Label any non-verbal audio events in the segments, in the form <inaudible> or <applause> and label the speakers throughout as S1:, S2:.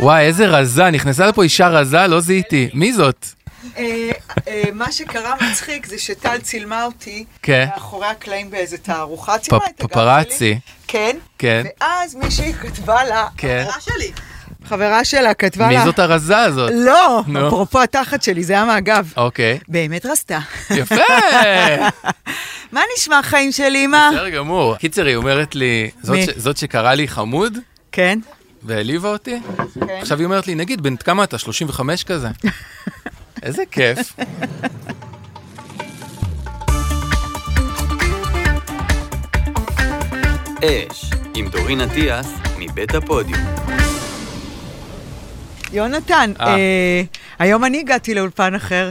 S1: וואי, איזה רזה, נכנסה לפה אישה רזה, לא זיהיתי. מי זאת?
S2: אה, אה, מה שקרה מצחיק זה שטל צילמה אותי
S1: כן.
S2: מאחורי הקלעים באיזה תערוכה, צילמה
S1: פ-
S2: את הגב שלי.
S1: פפראצי.
S2: כן.
S1: כן.
S2: ואז מישהי כתבה לה,
S1: כן.
S2: חברה שלי, חברה שלה כתבה
S1: מי
S2: לה,
S1: זאת הרזה הזאת?
S2: לא,
S1: נו.
S2: אפרופו התחת שלי, זה היה מהגב.
S1: אוקיי.
S2: באמת רצתה.
S1: יפה!
S2: <laughs> מה נשמע חיים שלי, אמא?
S1: בסדר גמור. קיצר, היא אומרת לי, זאת
S2: מי?
S1: ש- זאת שקראה לי חמוד
S2: כן.
S1: והעליבה אותי,
S2: כן.
S1: עכשיו היא אומרת לי, נגיד, בן כמה אתה? 35
S2: <laughs>
S1: כזה. איזה כיף.
S3: אש, עם דורין אטיאס, מבית הפודיום.
S2: יונתן,
S1: אה.
S2: אה, היום אני הגעתי לאולפן אחר.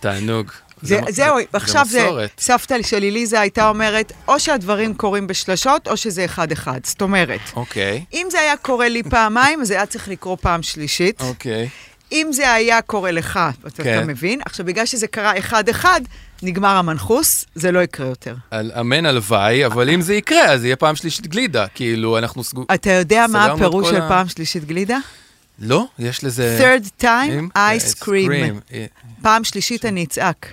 S1: תענוג.
S2: זה,
S1: מ-
S2: זהו, עכשיו זה,
S1: מסורת.
S2: סבתא שלי ליזה הייתה אומרת, או שהדברים קורים בשלשות, או שזה אחד-אחד. זאת אומרת,
S1: אוקיי.
S2: אם זה היה קורה לי פעמיים, אז היה צריך לקרות פעם שלישית.
S1: אוקיי.
S2: אם זה היה קורה לך, אתה, אתה
S1: כן.
S2: מבין? עכשיו, בגלל שזה קרה אחד-אחד, נגמר המנחוס, זה לא יקרה יותר.
S1: על- אמן
S2: אה.
S1: הלוואי, אבל אם זה יקרה, אז יהיה פעם שלישית גלידה. כאילו, אנחנו סגו...
S2: אתה יודע מה
S1: סגרנו את
S2: הפירוש
S1: כל
S2: של
S1: ה-
S2: פעם שלישית גלידה?
S1: לא, יש לזה...
S2: third time, ice cream. פעם שלישית אני אצעק.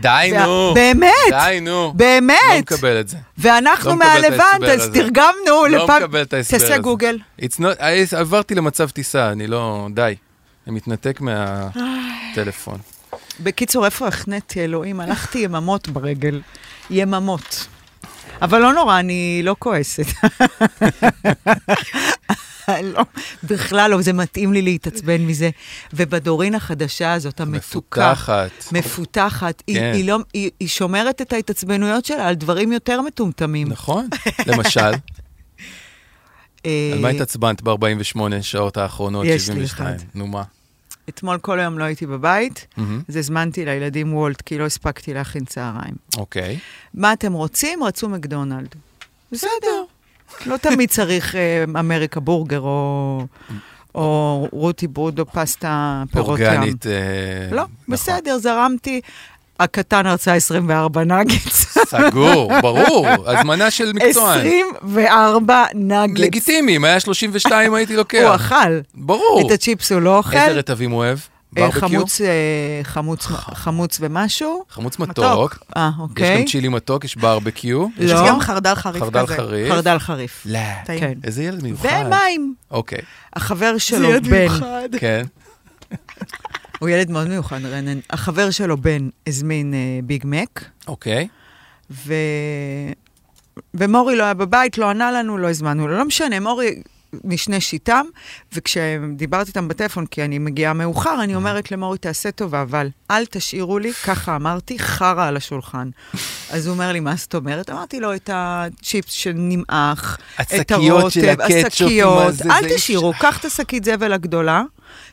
S1: די,
S2: וה-
S1: נו.
S2: באמת?
S1: די, נו.
S2: באמת?
S1: לא מקבל את זה.
S2: ואנחנו
S1: לא מקבל את
S2: מהלבנט,
S1: ההסבר
S2: אז
S1: הזה.
S2: תרגמנו
S1: לא
S2: לפעם...
S1: מקבל את ההסבר הזה.
S2: תעשה גוגל.
S1: It's not, I, עברתי למצב טיסה, אני לא... די. אני מתנתק
S2: <sighs>
S1: מהטלפון.
S2: בקיצור, איפה החנאתי, אלוהים? הלכתי יממות ברגל. יממות. אבל לא נורא, אני לא כועסת. <laughs> לא, בכלל לא, זה מתאים לי להתעצבן מזה. ובדורין החדשה הזאת, המתוקה,
S1: מפותחת.
S2: מפותחת, היא,
S1: כן.
S2: היא, לא, היא, היא שומרת את ההתעצבנויות שלה על דברים יותר מטומטמים.
S1: נכון.
S2: <laughs>
S1: למשל,
S2: אה,
S1: על מה התעצבנת ב-48 שעות האחרונות,
S2: יש לי
S1: 72?
S2: אחד.
S1: נו מה?
S2: אתמול כל היום לא הייתי בבית,
S1: מהמם.
S2: אז הזמנתי לילדים וולט, כי לא הספקתי להכין צהריים.
S1: אוקיי.
S2: מה אתם רוצים? רצו מקדונלד. בסדר. לא תמיד צריך אה, אמריקה בורגר או, או רותי ברוד או פסטה פירות ים.
S1: אורגנית. אה,
S2: לא,
S1: נכון.
S2: בסדר, זרמתי. הקטן רצה 24 נגץ. <laughs>
S1: סגור, ברור. הזמנה של מקצוען.
S2: 24 נגץ.
S1: לגיטימי, אם היה 32 הייתי לוקח.
S2: הוא אכל.
S1: ברור.
S2: את הצ'יפס הוא לא אוכל.
S1: איזה רטבים הוא אוהב?
S2: אה,
S1: ברבקיו?
S2: חמוץ, אה, חמוץ, חמוץ ומשהו.
S1: חמוץ מתוק.
S2: אה,
S1: יש
S2: אוקיי.
S1: גם צ'ילי מתוק, יש ברבקיו.
S2: לא.
S1: יש
S4: יש גם
S1: גם
S4: חרדל חריף כזה.
S1: חרדל חריף.
S2: חרדל חריף.
S1: לא.
S4: טעים.
S2: כן.
S1: איזה ילד מיוחד.
S2: ומים.
S1: אוקיי,
S2: החבר שלו, בן.
S1: כן.
S2: הוא ילד מאוד מיוחד, רנן. החבר שלו, בן, הזמין אה, ביג מק,
S1: אוקיי.
S2: ו... ומורי לא היה בבית, לא ענה לנו, לא הזמנו לו. לא משנה, מורי משנה שיטם, וכשדיברתי איתם בטלפון, כי אני מגיעה מאוחר,
S1: אה.
S2: אני אומרת למורי, תעשה טובה, אבל אל תשאירו לי, ככה אמרתי, חרא על השולחן. אז הוא אומר לי, מה זאת אומרת? אמרתי לו, את הצ'יפס שנמעך, את
S1: השקיות של
S2: הרוטב,
S1: הקטשופ עם
S2: השקיות,
S1: הזה, זה
S2: אל
S1: איש-
S2: תשאירו, קח את השקית זבל הגדולה.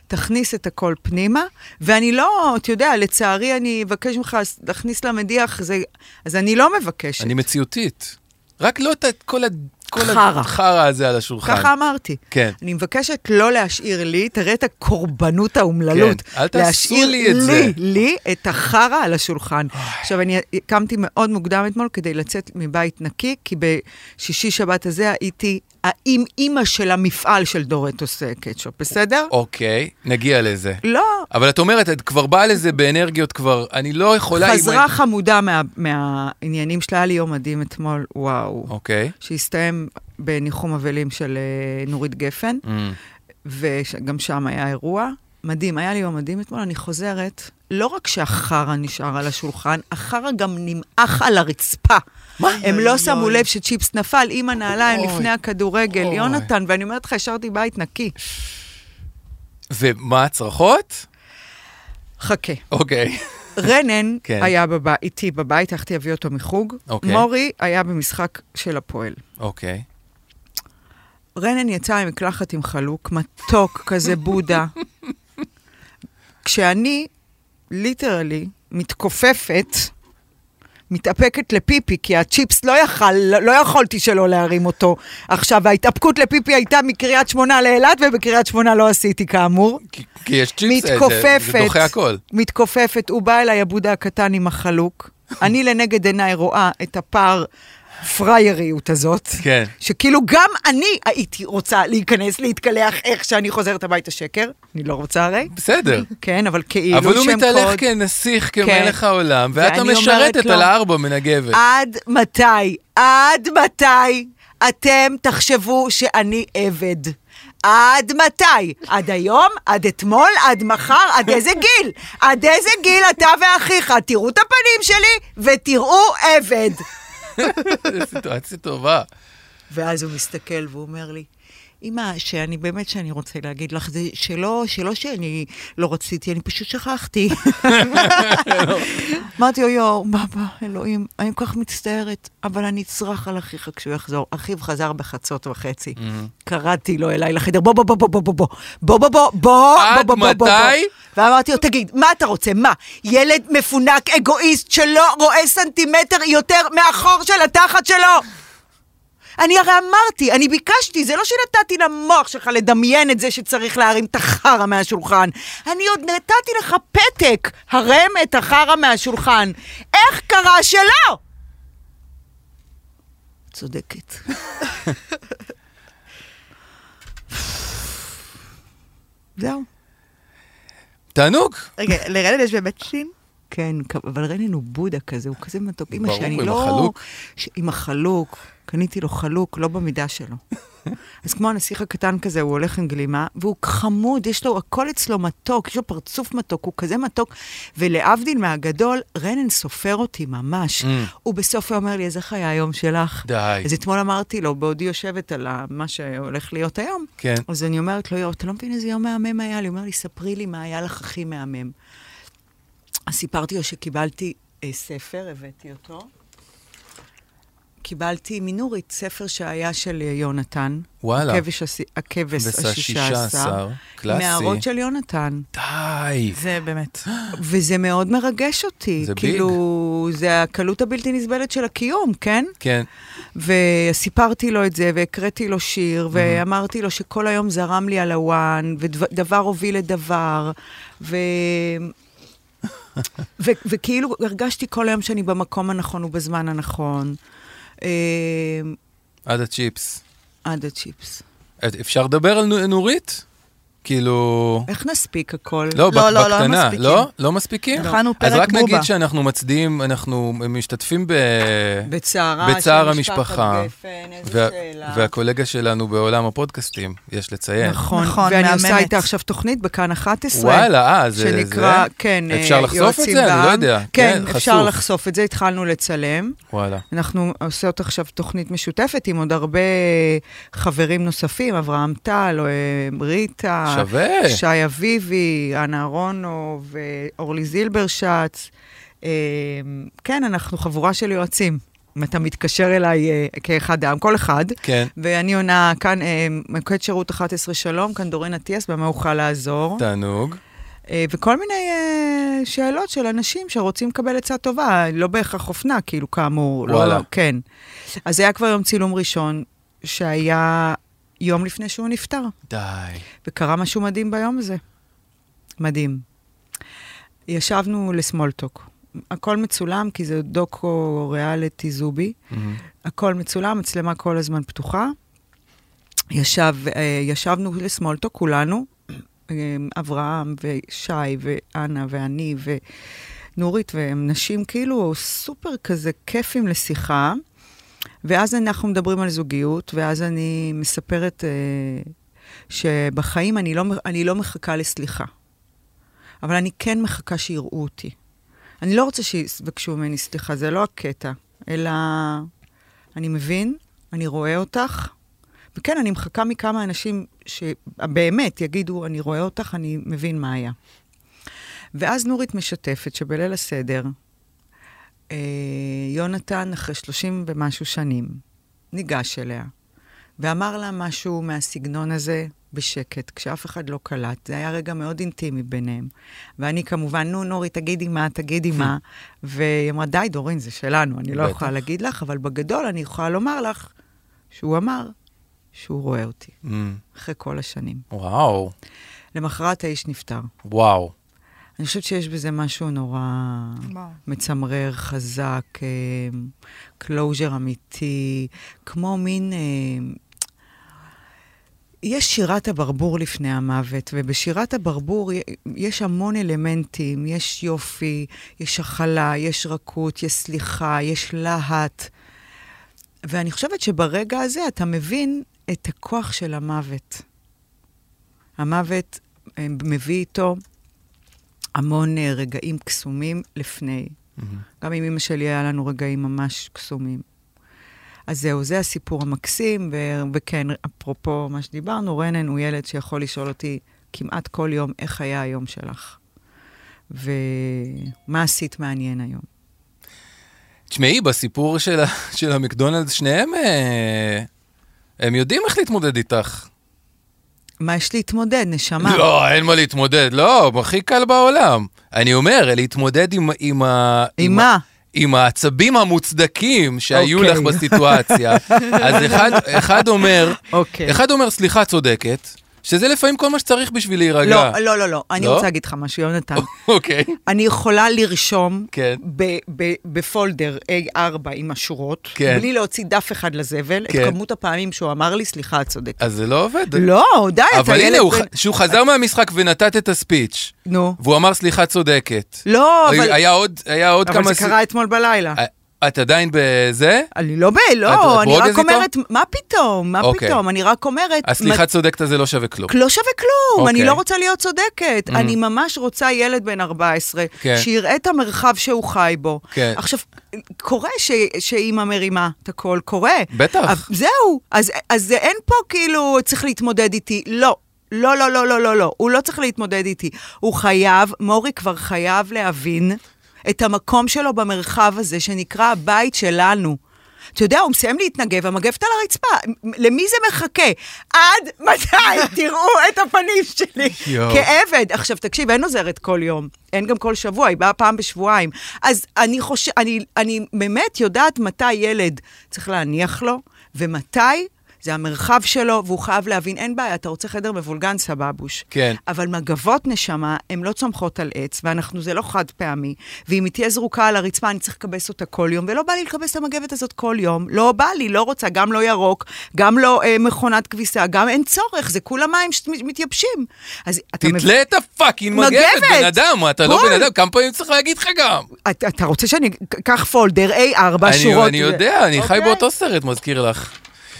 S2: תכניס את הכל פנימה, ואני לא, אתה יודע, לצערי, אני אבקש ממך להכניס למדיח, זה, אז אני לא מבקשת.
S1: אני מציאותית. רק לא את ה- כל ה... כל
S2: חרא.
S1: החרא הזה על השולחן.
S2: ככה אמרתי.
S1: כן.
S2: אני מבקשת לא להשאיר לי, תראה את הקורבנות האומללות.
S1: כן, אל תעשו לי את
S2: להשאיר
S1: זה.
S2: לי, לי, את החרא על השולחן. עכשיו, אני קמתי מאוד מוקדם אתמול כדי לצאת מבית נקי, כי בשישי שבת הזה הייתי האם אימא של המפעל של דורטוס אה, קטשופ, בסדר?
S1: אוקיי, נגיע לזה.
S2: לא,
S1: אבל את אומרת, את כבר באה לזה באנרגיות כבר, אני לא יכולה... אם
S2: חזרה
S1: אני-
S2: חמודה מה- מהעניינים שלה, היה לי יום מדהים אתמול, וואו.
S1: אוקיי.
S2: שהסתיים בניחום אבלים של אה, נורית גפן.
S1: אמ,
S2: וגם שם היה אירוע. מדהים, היה לי יום מדהים אתמול, אני חוזרת. לא רק שהחרא נשאר על השולחן, החרא גם נמעך על הרצפה. מה? הם לא שמו לב שצ'יפס נפל עם הנעליים
S1: אוי.
S2: לפני הכדורגל,
S1: אוי.
S2: יונתן, ואני אומרת לך, השארתי בית נקי.
S1: ומה הצרחות?
S2: חכה.
S1: אוקיי.
S2: רנן
S1: כן.
S2: היה בב- איתי בבית, הלכתי להביא אותו מחוג.
S1: אוקיי.
S2: מורי היה במשחק של הפועל.
S1: אוקיי.
S2: רנן יצא עם מקלחת עם חלוק, מתוק, כזה בודה. כשאני, ליטרלי, מתכופפת, מתאפקת לפיפי, כי הצ'יפס לא יכל, לא יכולתי שלא להרים אותו. עכשיו, ההתאפקות לפיפי הייתה מקריית שמונה לאילת, ובקריית שמונה לא עשיתי כאמור.
S1: כי- כי יש צ'יפס, אה, זה-
S2: מתכופפת.
S1: זה דוחה הכל. <laughs>
S2: מתכופפת, הוא בא אליי, הבודה הקטן עם החלוק. אני לנגד עיניי רואה את הפער הפרייריות הזאת.
S1: כן.
S2: שכאילו גם אני הייתי רוצה להיכנס, להתקלח איך שאני חוזרת הביתה שקר. אני לא רוצה הרי.
S1: בסדר.
S2: כן, אבל כאילו
S1: אבל הוא
S2: שם
S1: מתהלך כן,
S2: קוד. כן.
S1: כנסיך, כמלך העולם,
S2: ואני
S1: ואת
S2: אומרת
S1: המשרתת
S2: לו- "אה,
S1: על הארבע מנגבת.
S2: עד מתי? עד מתי אתם תחשבו שאני עבד? עד מתי? עד היום? עד אתמול? עד מחר? עד איזה גיל? עד איזה גיל אתה ואחיך? תראו את הפנים שלי ותראו עבד.
S1: זו סיטואציה טובה.
S2: ואז הוא מסתכל והוא אומר לי, אמא, שאני באמת שאני רוצה להגיד לך, זה שלא, שלא שאני לא רציתי, אני פשוט
S1: <laughs>
S2: שכחתי. אמרתי לו, יואו, בבא, אלוהים, אני כל כך מצטערת, אבל אני אצרח על אחיך כשהוא יחזור. אחיו חזר בחצות וחצי.
S1: Mm-hmm.
S2: קראתי לו אליי לחדר, בוא, בוא, בוא, בוא, בוא, בוא, בוא, בוא, בוא, בוא, בוא,
S1: עד
S2: בוא, בוא, בוא, בוא.
S1: מתי?
S2: ואמרתי לו, תגיד, מה אתה רוצה? מה? ילד מפונק, אגואיסט, שלא רואה סנטימטר יותר מהחור של התחת שלו? אני הרי אמרתי, אני ביקשתי, זה לא שנתתי למוח שלך לדמיין את זה שצריך להרים את החרא מהשולחן. אני עוד נתתי לך פתק, הרם את החרא מהשולחן. איך קרה שלא? צודקת. זהו.
S1: תענוג.
S4: רגע, לרנן יש באמת שין?
S2: כן, כ- אבל רנן הוא בודה כזה, הוא כזה מתוק. אימא
S1: ברור,
S2: שאני
S1: עם
S2: לא...
S1: החלוק.
S2: ש... עם החלוק. קניתי לו חלוק, לא במידה שלו. אז כמו הנסיך הקטן כזה, הוא הולך עם גלימה, והוא חמוד, יש לו, הכל אצלו מתוק, יש לו פרצוף מתוק, הוא כזה מתוק. ולהבדיל מהגדול, רנן סופר אותי ממש.
S1: Mm.
S2: הוא בסוף היה אומר לי, אז איך היה היום שלך?
S1: די.
S2: אז אתמול אמרתי לו, בעודי יושבת על ה- מה שהולך להיות היום,
S1: כן.
S2: אז אני אומרת לו, יואו, אתה לא מבין איזה יום מהמם היה לי? הוא אומר לי, ספרי לי מה היה לך הכי מהמם. אז סיפרתי לו שקיבלתי אה, ספר, הבאתי אותו. קיבלתי מנורית ספר שהיה של אה, יונתן.
S1: וואלה.
S2: הכבש, הש... הכבש
S1: הכבש
S2: השישה עשר.
S1: קלאסי.
S2: מהערות של יונתן.
S1: די.
S4: זה באמת.
S2: וזה מאוד מרגש אותי.
S1: זה ביג.
S2: כאילו, זה הקלות הבלתי נסבלת של הקיום, כן?
S1: כן.
S2: וסיפרתי לו את זה, והקראתי לו
S1: Mhm.
S2: שיר, ואמרתי לו שכל היום זרם לי על הוואן, ודבר הוביל לדבר,
S1: <laughs>
S2: ו... ו- וכאילו הרגשתי כל היום שאני במקום הנכון ובזמן הנכון. אה,
S1: עד הצ'יפס.
S2: עד הצ'יפס.
S1: את- אפשר לדבר על נו- נורית? כאילו...
S2: איך נספיק הכל?
S1: לא,
S4: לא,
S1: בק-
S4: לא, לא
S1: בקטנה.
S4: מספיקים.
S1: לא? לא מספיקים?
S4: הכנו
S1: אז
S4: פרק
S1: רק נגיד
S4: בובה.
S1: שאנחנו מצדיעים, אנחנו משתתפים ב...
S2: בצערה
S1: בצער
S2: של משפחת
S1: המשפחה.
S2: גפן, איזה
S1: וה-
S2: שאלה.
S1: והקולגה שלנו בעולם הפודקאסטים, יש לציין.
S2: נכון,
S4: נכון,
S2: ואני
S4: מהממת.
S2: עושה איתה עכשיו תוכנית בכאן 11.
S1: כן. וואלה, אה, זה...
S2: שנקרא,
S1: זה?
S2: כן, אה,
S1: אפשר לחשוף את
S2: יועצים
S1: זה? אני לא
S2: בעם.
S1: יודע.
S2: כן, אפשר
S1: חשוף.
S2: לחשוף את זה, התחלנו לצלם.
S1: וואלה.
S2: אנחנו עושות עכשיו תוכנית משותפת עם עוד הרבה חברים נוספים, אברהם טל, אה, ריטה,
S1: שווה.
S2: שי אביבי, אנה אהרונוב, אה, אורלי זילברשץ. אה, כן, אנחנו חבורה של יועצים. אם אתה מתקשר אליי אה, כאחד העם, כל אחד,
S1: כן.
S2: ואני עונה כאן, אה, מוקד שירות 11 שלום, כאן דורין אטיאס, במה אוכל לעזור?
S1: תענוג.
S2: אה, וכל מיני אה, שאלות של אנשים שרוצים לקבל עצה טובה, לא בהכרח אופנה, כאילו, כאמור.
S1: וואלה.
S2: לא, כן. אז היה כבר יום צילום ראשון, שהיה יום לפני שהוא נפטר,
S1: די.
S2: וקרה משהו מדהים ביום הזה. מדהים. ישבנו לסמולטוק. הכל מצולם, כי זה דוקו ריאליטי זובי.
S1: מהמם.
S2: הכל מצולם, מצלמה כל הזמן פתוחה. ישב, אה, ישבנו לסמולטו כולנו, אה, אברהם ושי ואנה ואני ונורית, והם נשים כאילו סופר כזה כיפים לשיחה. ואז אנחנו מדברים על זוגיות, ואז אני מספרת אה, שבחיים אני לא, אני לא מחכה לסליחה, אבל אני כן מחכה שיראו אותי. אני לא רוצה שיבקשו ממני סליחה, זה לא הקטע, אלא אני מבין, אני רואה אותך, וכן, אני מחכה מכמה אנשים שבאמת יגידו, אני רואה אותך, אני מבין מה היה. ואז נורית משתפת שבליל הסדר, אה, יונתן, אחרי 30 ומשהו שנים, ניגש אליה ואמר לה משהו מהסגנון הזה בשקט, כשאף אחד לא קלט. זה היה רגע מאוד אינטימי ביניהם. ואני כמובן, נו, נורי, תגידי מה, תגידי מה. והיא אמרה, די, דורין, זה שלנו, אני לא
S1: בטח.
S2: יכולה להגיד לך, אבל בגדול אני יכולה לומר לך שהוא אמר שהוא רואה אותי,
S1: מהמם.
S2: אחרי כל השנים.
S1: Mm-hmm. וואו.
S2: למחרת האיש נפטר.
S1: וואו.
S2: אני חושבת שיש בזה משהו נורא...
S4: וואו.
S2: מצמרר, חזק, קלוז'ר אמיתי, כמו מין... אה, יש שירת הברבור לפני המוות, ובשירת הברבור י- יש המון אלמנטים, יש יופי, יש הכלה, יש רכות, יש סליחה, יש להט. ואני חושבת שברגע הזה אתה מבין את הכוח של המוות. המוות אה, מביא איתו המון אה, רגעים קסומים לפני. גם עם אמא שלי היה לנו רגעים ממש קסומים. אז זהו, זה הסיפור המקסים, ו- וכן, אפרופו מה שדיברנו, רנן הוא ילד שיכול לשאול אותי כמעט כל יום, איך היה היום שלך? ומה עשית מעניין היום?
S1: תשמעי, בסיפור של, ה... <laughs> של המקדונלדס, שניהם, אה... הם יודעים איך להתמודד איתך.
S2: מה יש להתמודד, נשמה?
S1: לא, אין מה להתמודד, לא, הכי קל בעולם. אני אומר, להתמודד עם, עם, ה...
S2: עם מה?
S1: עם העצבים המוצדקים שהיו
S2: אוקיי.
S1: לך
S2: <laughs>
S1: בסיטואציה. אז אחד, אחד אומר,
S2: אוקיי.
S1: אחד אומר, סליחה, צודקת, שזה לפעמים כל מה שצריך בשביל להירגע.
S2: לא, לא, לא, לא. אני
S1: לא?
S2: רוצה להגיד לך משהו, יונתן.
S1: אוקיי.
S2: אני יכולה לרשום
S1: כן.
S2: ב- ב- בפולדר A4 עם השורות,
S1: כן.
S2: בלי להוציא דף אחד לזבל,
S1: כן.
S2: את כמות הפעמים שהוא אמר לי, סליחה, את צודקת.
S1: אז זה לא עובד.
S2: לא, די, אתה
S1: אבל
S2: ילד
S1: הנה, הוא
S2: בן...
S1: ח- שהוא חזר מהמשחק ונתת את הספיץ',
S2: נו.
S1: והוא אמר, סליחה, צודקת.
S2: לא, אבל,
S1: היה עוד, היה עוד כמה...
S2: אבל זה
S1: ס-
S2: קרה אתמול בלילה.
S1: אה, את עדיין בזה?
S2: אני לא ב...
S1: את- את
S2: לא, אני
S1: ברוגז
S2: רק
S1: איתו?
S2: אומרת, מה פתאום? מה
S1: אוקיי.
S2: פתאום? אני רק אומרת...
S1: הסליחה צודקת הזה לא שווה כלום.
S2: מה- לא שווה
S1: אוקיי.
S2: כלום,
S1: Mm.
S2: אני לא רוצה להיות צודקת. אני ממש רוצה ילד בן 14,
S1: כן.
S2: שיראה את המרחב שהוא חי בו.
S1: כן.
S2: עכשיו, קורה ש- שאימא מרימה את הכל, קורה.
S1: בטח.
S2: אבל זהו, אז, אז זה אין פה כאילו צריך להתמודד איתי. לא. לא, לא, לא, לא, לא, לא. הוא לא צריך להתמודד איתי. הוא חייב, מורי כבר חייב להבין את המקום שלו במרחב הזה, שנקרא הבית שלנו. אתה יודע, הוא מסיים להתנגב, המגבת על הרצפה. מ- למי זה מחכה? עד
S1: <laughs>
S2: מתי? תראו את הפנים שלי.
S1: יואו.
S2: כעבד. עכשיו, תקשיב, אין עוזרת כל יום. אין גם כל שבוע, היא באה פעם בשבועיים. אז אני חושב, אני, אני באמת יודעת מתי ילד צריך להניח לו, ומתי זה המרחב שלו, והוא חייב להבין, אין בעיה, אתה רוצה חדר מבולגן, סבבוש.
S1: כן.
S2: אבל מגבות נשמה, הן לא צומחות על עץ, ואנחנו, זה לא חד פעמי. ואם היא תהיה זרוקה על הרצפה, אני צריך לכבס אותה כל יום, ולא בא לי לכבס את המגבת הזאת כל יום. לא בא לי, לא רוצה, גם לא ירוק, גם לא אה, מכונת כביסה, גם אין צורך, זה כולה מים שמתייבשים. אז אתה מבין...
S1: תתלה את הפאקינג
S2: מגבת.
S1: מגבת, בן אדם, אתה לא
S2: בול.
S1: בן אדם, כמה פעמים צריך להגיד לך גם?
S2: אתה, אתה רוצה שאני אקח פולדר A4
S1: אני
S2: שורות?
S1: אני יודע, אני חי
S2: אוקיי.
S1: באותו סרט, מזכיר לך.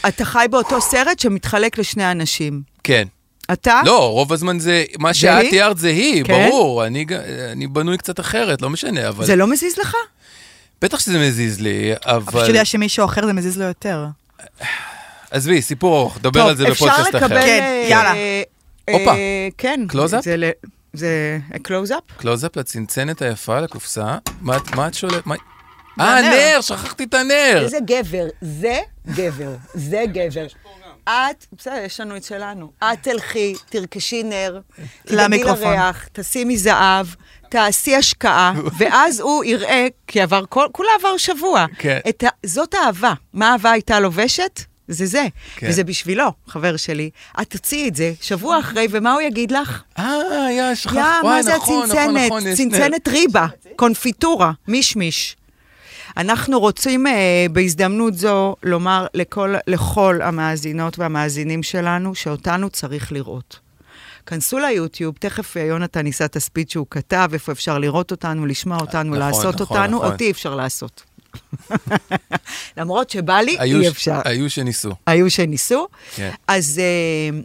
S2: אתה חי באותו סרט שמתחלק לשני אנשים.
S1: כן.
S2: אתה?
S1: לא, רוב הזמן זה, מה שאת
S2: אה? היא?
S1: תיארת זה היא,
S2: כן?
S1: ברור. אני ג- אני בנוי קצת אחרת, לא משנה, אבל...
S2: זה לא מזיז לך?
S1: בטח שזה מזיז לי,
S4: אבל
S1: אבל...
S4: פשוט יודע שמישהו אחר זה מזיז לו יותר.
S1: עזבי, סיפור ארוך, דבר
S2: טוב,
S1: על זה
S2: אפשר
S1: בפודקאסט
S2: לקבל...
S1: אחר.
S4: כן,
S2: אה,
S4: יאללה.
S2: אה,
S1: הופה.
S2: אה, כן.
S1: Close-up?
S2: זה ל- זה אה, קלוז-אפ?
S1: קלוזאפ לצנצנת היפה, לקופסה. מה את- מה את שולפת? מה- אה,
S4: הנר.
S1: נר, שכחתי את הנר.
S2: איזה גבר, זה גבר, זה גבר. את, בסדר, יש לנו את שלנו. את תלכי, תרכשי נר, תדאגי
S4: למיקרופון.
S2: לריח, תשימי זהב, תעשי השקעה, <laughs> ואז הוא יראה, כי עבר כל, כולה עבר שבוע.
S1: כן.
S2: את ה, זאת אהבה. מה אהבה הייתה לובשת? זה זה.
S1: כן.
S2: וזה בשבילו, חבר שלי. את תוציאי את זה שבוע אחרי, ומה הוא יגיד לך?
S1: אה, יא, שכחתי.
S2: יא, מה זה
S1: נכון,
S2: הצנצנת? צנצנת ריבה, קונפיטורה, מישמיש. אנחנו רוצים אה, בהזדמנות זו לומר לכל, לכל המאזינות והמאזינים שלנו שאותנו צריך לראות. כנסו ליוטיוב, תכף אה, יונתן יישא את הספיד שהוא כתב, איפה אפשר לראות אותנו, לשמוע אותנו,
S1: נכון,
S2: לעשות
S1: נכון,
S2: אותנו,
S1: נכון.
S2: אותי אפשר לעשות. <laughs> למרות שבא לי,
S1: היו
S2: אי
S1: ש-
S2: אפשר.
S1: היו שניסו.
S2: היו שניסו.
S1: כן.
S2: אז, אה,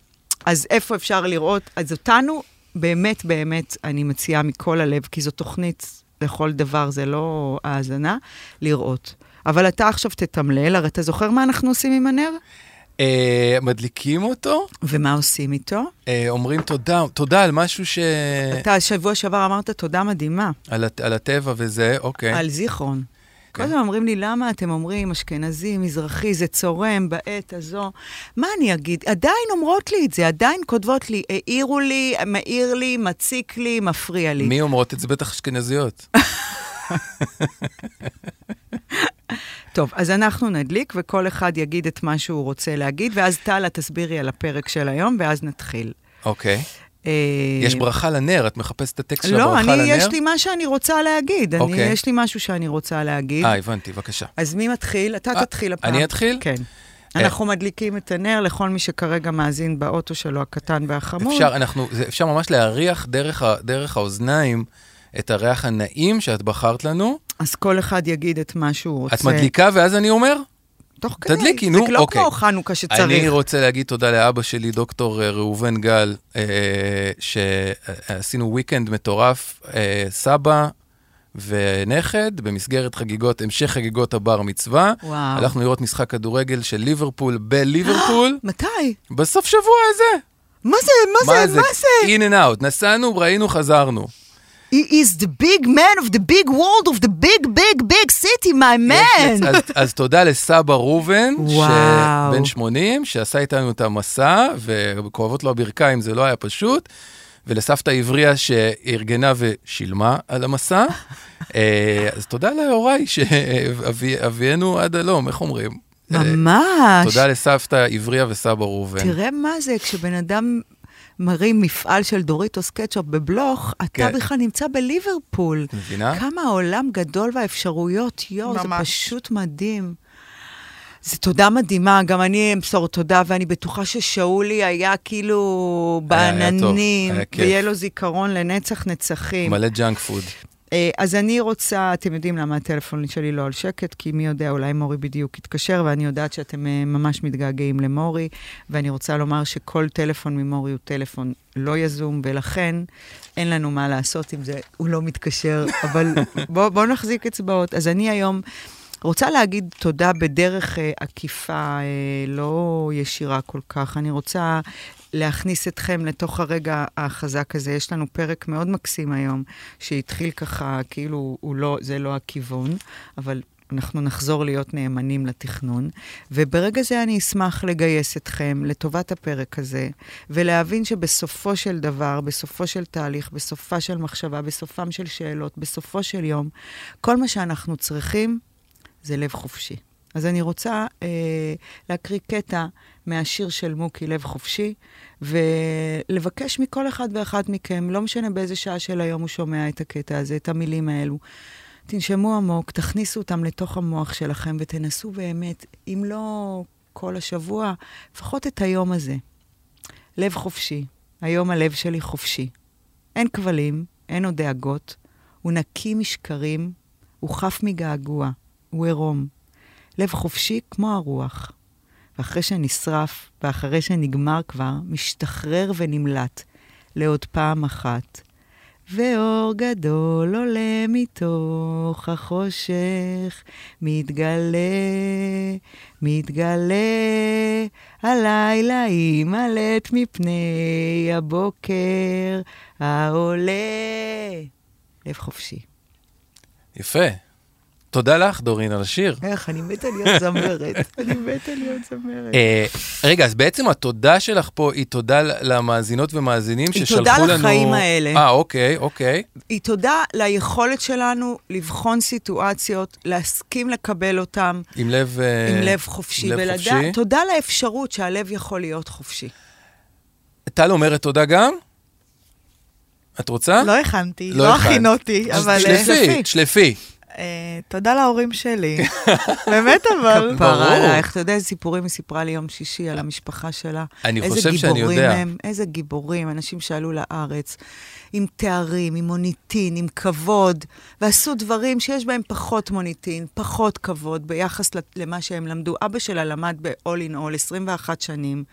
S2: אז איפה אפשר לראות? אז אותנו, באמת, באמת, אני מציעה מכל הלב, כי זו תוכנית לכל דבר, זה לא האזנה, לראות. אבל אתה עכשיו תתמלל, הרי אתה זוכר מה אנחנו עושים עם הנר?
S1: אה, מדליקים אותו,
S2: ומה עושים איתו?
S1: אה, אומרים תודה, תודה על משהו ש... אה.
S2: אתה שבוע שעבר אמרת תודה מדהימה
S1: על הט- על הטבע וזה, אוקיי.
S2: על זיכרון. כל
S1: כן.
S2: הזמן אומרים לי, למה אתם אומרים אשכנזי, מזרחי, זה צורם בעת הזו? מה אני אגיד? עדיין אומרות לי את זה, עדיין כותבות לי, העירו לי, מעיר לי, מציק לי, מפריע לי.
S1: מי אומרות את זה? בטח
S2: <laughs>
S1: אשכנזיות.
S2: טוב, אז אנחנו נדליק, וכל אחד יגיד את מה שהוא רוצה להגיד, ואז טלה תסבירי על הפרק של היום, ואז נתחיל.
S1: אוקיי.
S2: אמ,
S1: יש ברכה לנר, את מחפשת את הטקסט של
S2: לא,
S1: הברכה
S2: אני,
S1: לנר?
S2: יש לי מה שאני רוצה להגיד. אני,
S1: אוקיי.
S2: יש לי משהו שאני רוצה להגיד.
S1: אה, הבנתי, בבקשה.
S2: אז מי מתחיל? אתה
S1: אה,
S2: תתחיל הפעם.
S1: אני אתחיל?
S2: כן.
S1: אה.
S2: אנחנו מדליקים את הנר לכל מי שכרגע מאזין באוטו שלו, הקטן והחמוד.
S1: אפשר, אנחנו, זה, אפשר ממש להריח דרך, ה- דרך האוזניים את הריח הנעים שאת בחרת לנו.
S2: אז כל אחד יגיד את מה שהוא רוצה.
S1: את מדליקה ואז אני אומר?
S2: תוך כדי.
S1: תדליקי, נו,
S2: זה לא
S1: אוקיי.
S2: כמו חנוכה שצריך.
S1: אני רוצה להגיד תודה לאבא שלי, דוקטור אה, ראובן גל, אה, שעשינו ויקנד מטורף, אה, סבא ונכד, במסגרת חגיגות, המשך חגיגות הבר מצווה.
S2: וואו.
S1: הלכנו לראות משחק כדורגל של ליברפול
S2: <gasps>
S1: בליברפול,
S2: מתי?
S1: בסוף שבוע הזה.
S2: מה זה? מה זה? מה זה?
S1: in and out. נסענו, ראינו, חזרנו.
S2: He is the big man of the big world of the big big big city, my
S1: יש-
S2: man.
S1: אז, אז תודה לסבא ראובן,
S2: כן. וואו.
S1: שבן 80, שעשה איתנו את המסע, וכואבות לו הברכיים, זה לא היה פשוט. ולסבתא עבריה שארגנה ושילמה על המסע. אה, אז תודה להוריי, שאבינו עד הלום, איך אומרים? אה,
S2: ממש.
S1: תודה לסבתא עבריה וסבא ראובן.
S2: תראה מה זה, כשבן אדם מרים מפעל של דוריטוס קטשופ בבלוך, אתה
S1: כן.
S2: בכלל נמצא בליברפול.
S1: מבינה?
S2: כמה העולם גדול והאפשרויות, יואו, זה
S4: ממש.
S2: פשוט מדהים. זו תודה מדהימה, גם אני אמסור תודה, ואני בטוחה ששאולי היה כאילו
S1: היה- היה טוב,
S2: בעננים,
S1: היה כיף.
S2: ויהיה לו זיכרון לנצח נצחים.
S1: מלא ג'אנק פוד.
S2: אה, אז אני רוצה, אתם יודעים למה הטלפון שלי לא על שקט, כי מי יודע, אולי מורי בדיוק יתקשר, ואני יודעת שאתם אה, ממש מתגעגעים למורי, ואני רוצה לומר שכל טלפון ממורי הוא טלפון לא יזום, ולכן אין לנו מה לעשות עם זה, הוא לא מתקשר, אבל <laughs> בואו בוא נחזיק אצבעות. אז אני היום... רוצה להגיד תודה בדרך אה, עקיפה, אה, לא ישירה כל כך. אני רוצה להכניס אתכם לתוך הרגע החזק הזה. יש לנו פרק מאוד מקסים היום, שהתחיל ככה, כאילו, הוא לא, זה לא הכיוון, אבל אנחנו נחזור להיות נאמנים לתכנון. וברגע זה אני אשמח לגייס אתכם לטובת הפרק הזה, ולהבין שבסופו של דבר, בסופו של תהליך, בסופה של מחשבה, בסופם של שאלות, בסופו של יום, כל מה שאנחנו צריכים זה לב חופשי. אז אני רוצה אה, להקריא קטע מהשיר של מוקי, לב חופשי, ולבקש מכל אחד ואחת מכם, לא משנה באיזה שעה של היום הוא שומע את הקטע הזה, את המילים האלו, תנשמו עמוק, תכניסו אותם לתוך המוח שלכם ותנסו באמת, אם לא כל השבוע, לפחות את היום הזה. לב חופשי. היום הלב שלי חופשי. אין כבלים, אין עוד דאגות. הוא נקי משקרים, הוא חף מגעגוע, הוא עירום. לב חופשי כמו הרוח. ואחרי שנשרף, ואחרי שנגמר כבר, משתחרר ונמלט לעוד פעם אחת. ואור גדול עולה מתוך החושך, מתגלה, מתגלה, הלילה יימלט מפני הבוקר העולה. לב חופשי.
S1: יפה. תודה לך, דורין, על השיר.
S2: איך, אני מתה
S1: <laughs>
S2: להיות זמרת. אני מתה להיות זמרת.
S1: אה, רגע, אז בעצם התודה שלך פה היא תודה למאזינות ומאזינים
S2: היא
S1: ששלחו לנו...
S2: תודה לחיים האלה.
S1: אה, אוקיי, אוקיי.
S2: היא תודה ליכולת שלנו לבחון סיטואציות, להסכים לקבל אותן
S1: עם לב... אה,
S2: עם לב חופשי.
S1: לב
S2: ולדעת,
S1: חופשי.
S2: תודה לאפשרות שהלב יכול להיות חופשי.
S1: טל אומרת תודה גם? את רוצה?
S4: לא הכנתי,
S1: לא
S4: לא
S1: הכנת.
S4: הכין אותי,
S1: אז
S4: אבל... אה,
S1: תשלפי, תשלפי.
S4: אה, תודה להורים
S1: <laughs>
S4: שלי. באמת, אבל...
S1: ברור.
S2: פרה עלייך, אתה יודע איזה סיפורים היא סיפרה לי יום שישי על המשפחה שלה?
S1: אני
S2: איזה
S1: חושב שאני
S2: גיבורים
S1: יודע.
S2: הם, איזה גיבורים, אנשים שעלו לארץ עם תארים, עם מוניטין, עם כבוד, ועשו דברים שיש בהם פחות מוניטין, פחות כבוד ביחס ל- למה שהם למדו. אבא שלה למד ב-all in all 21 שנים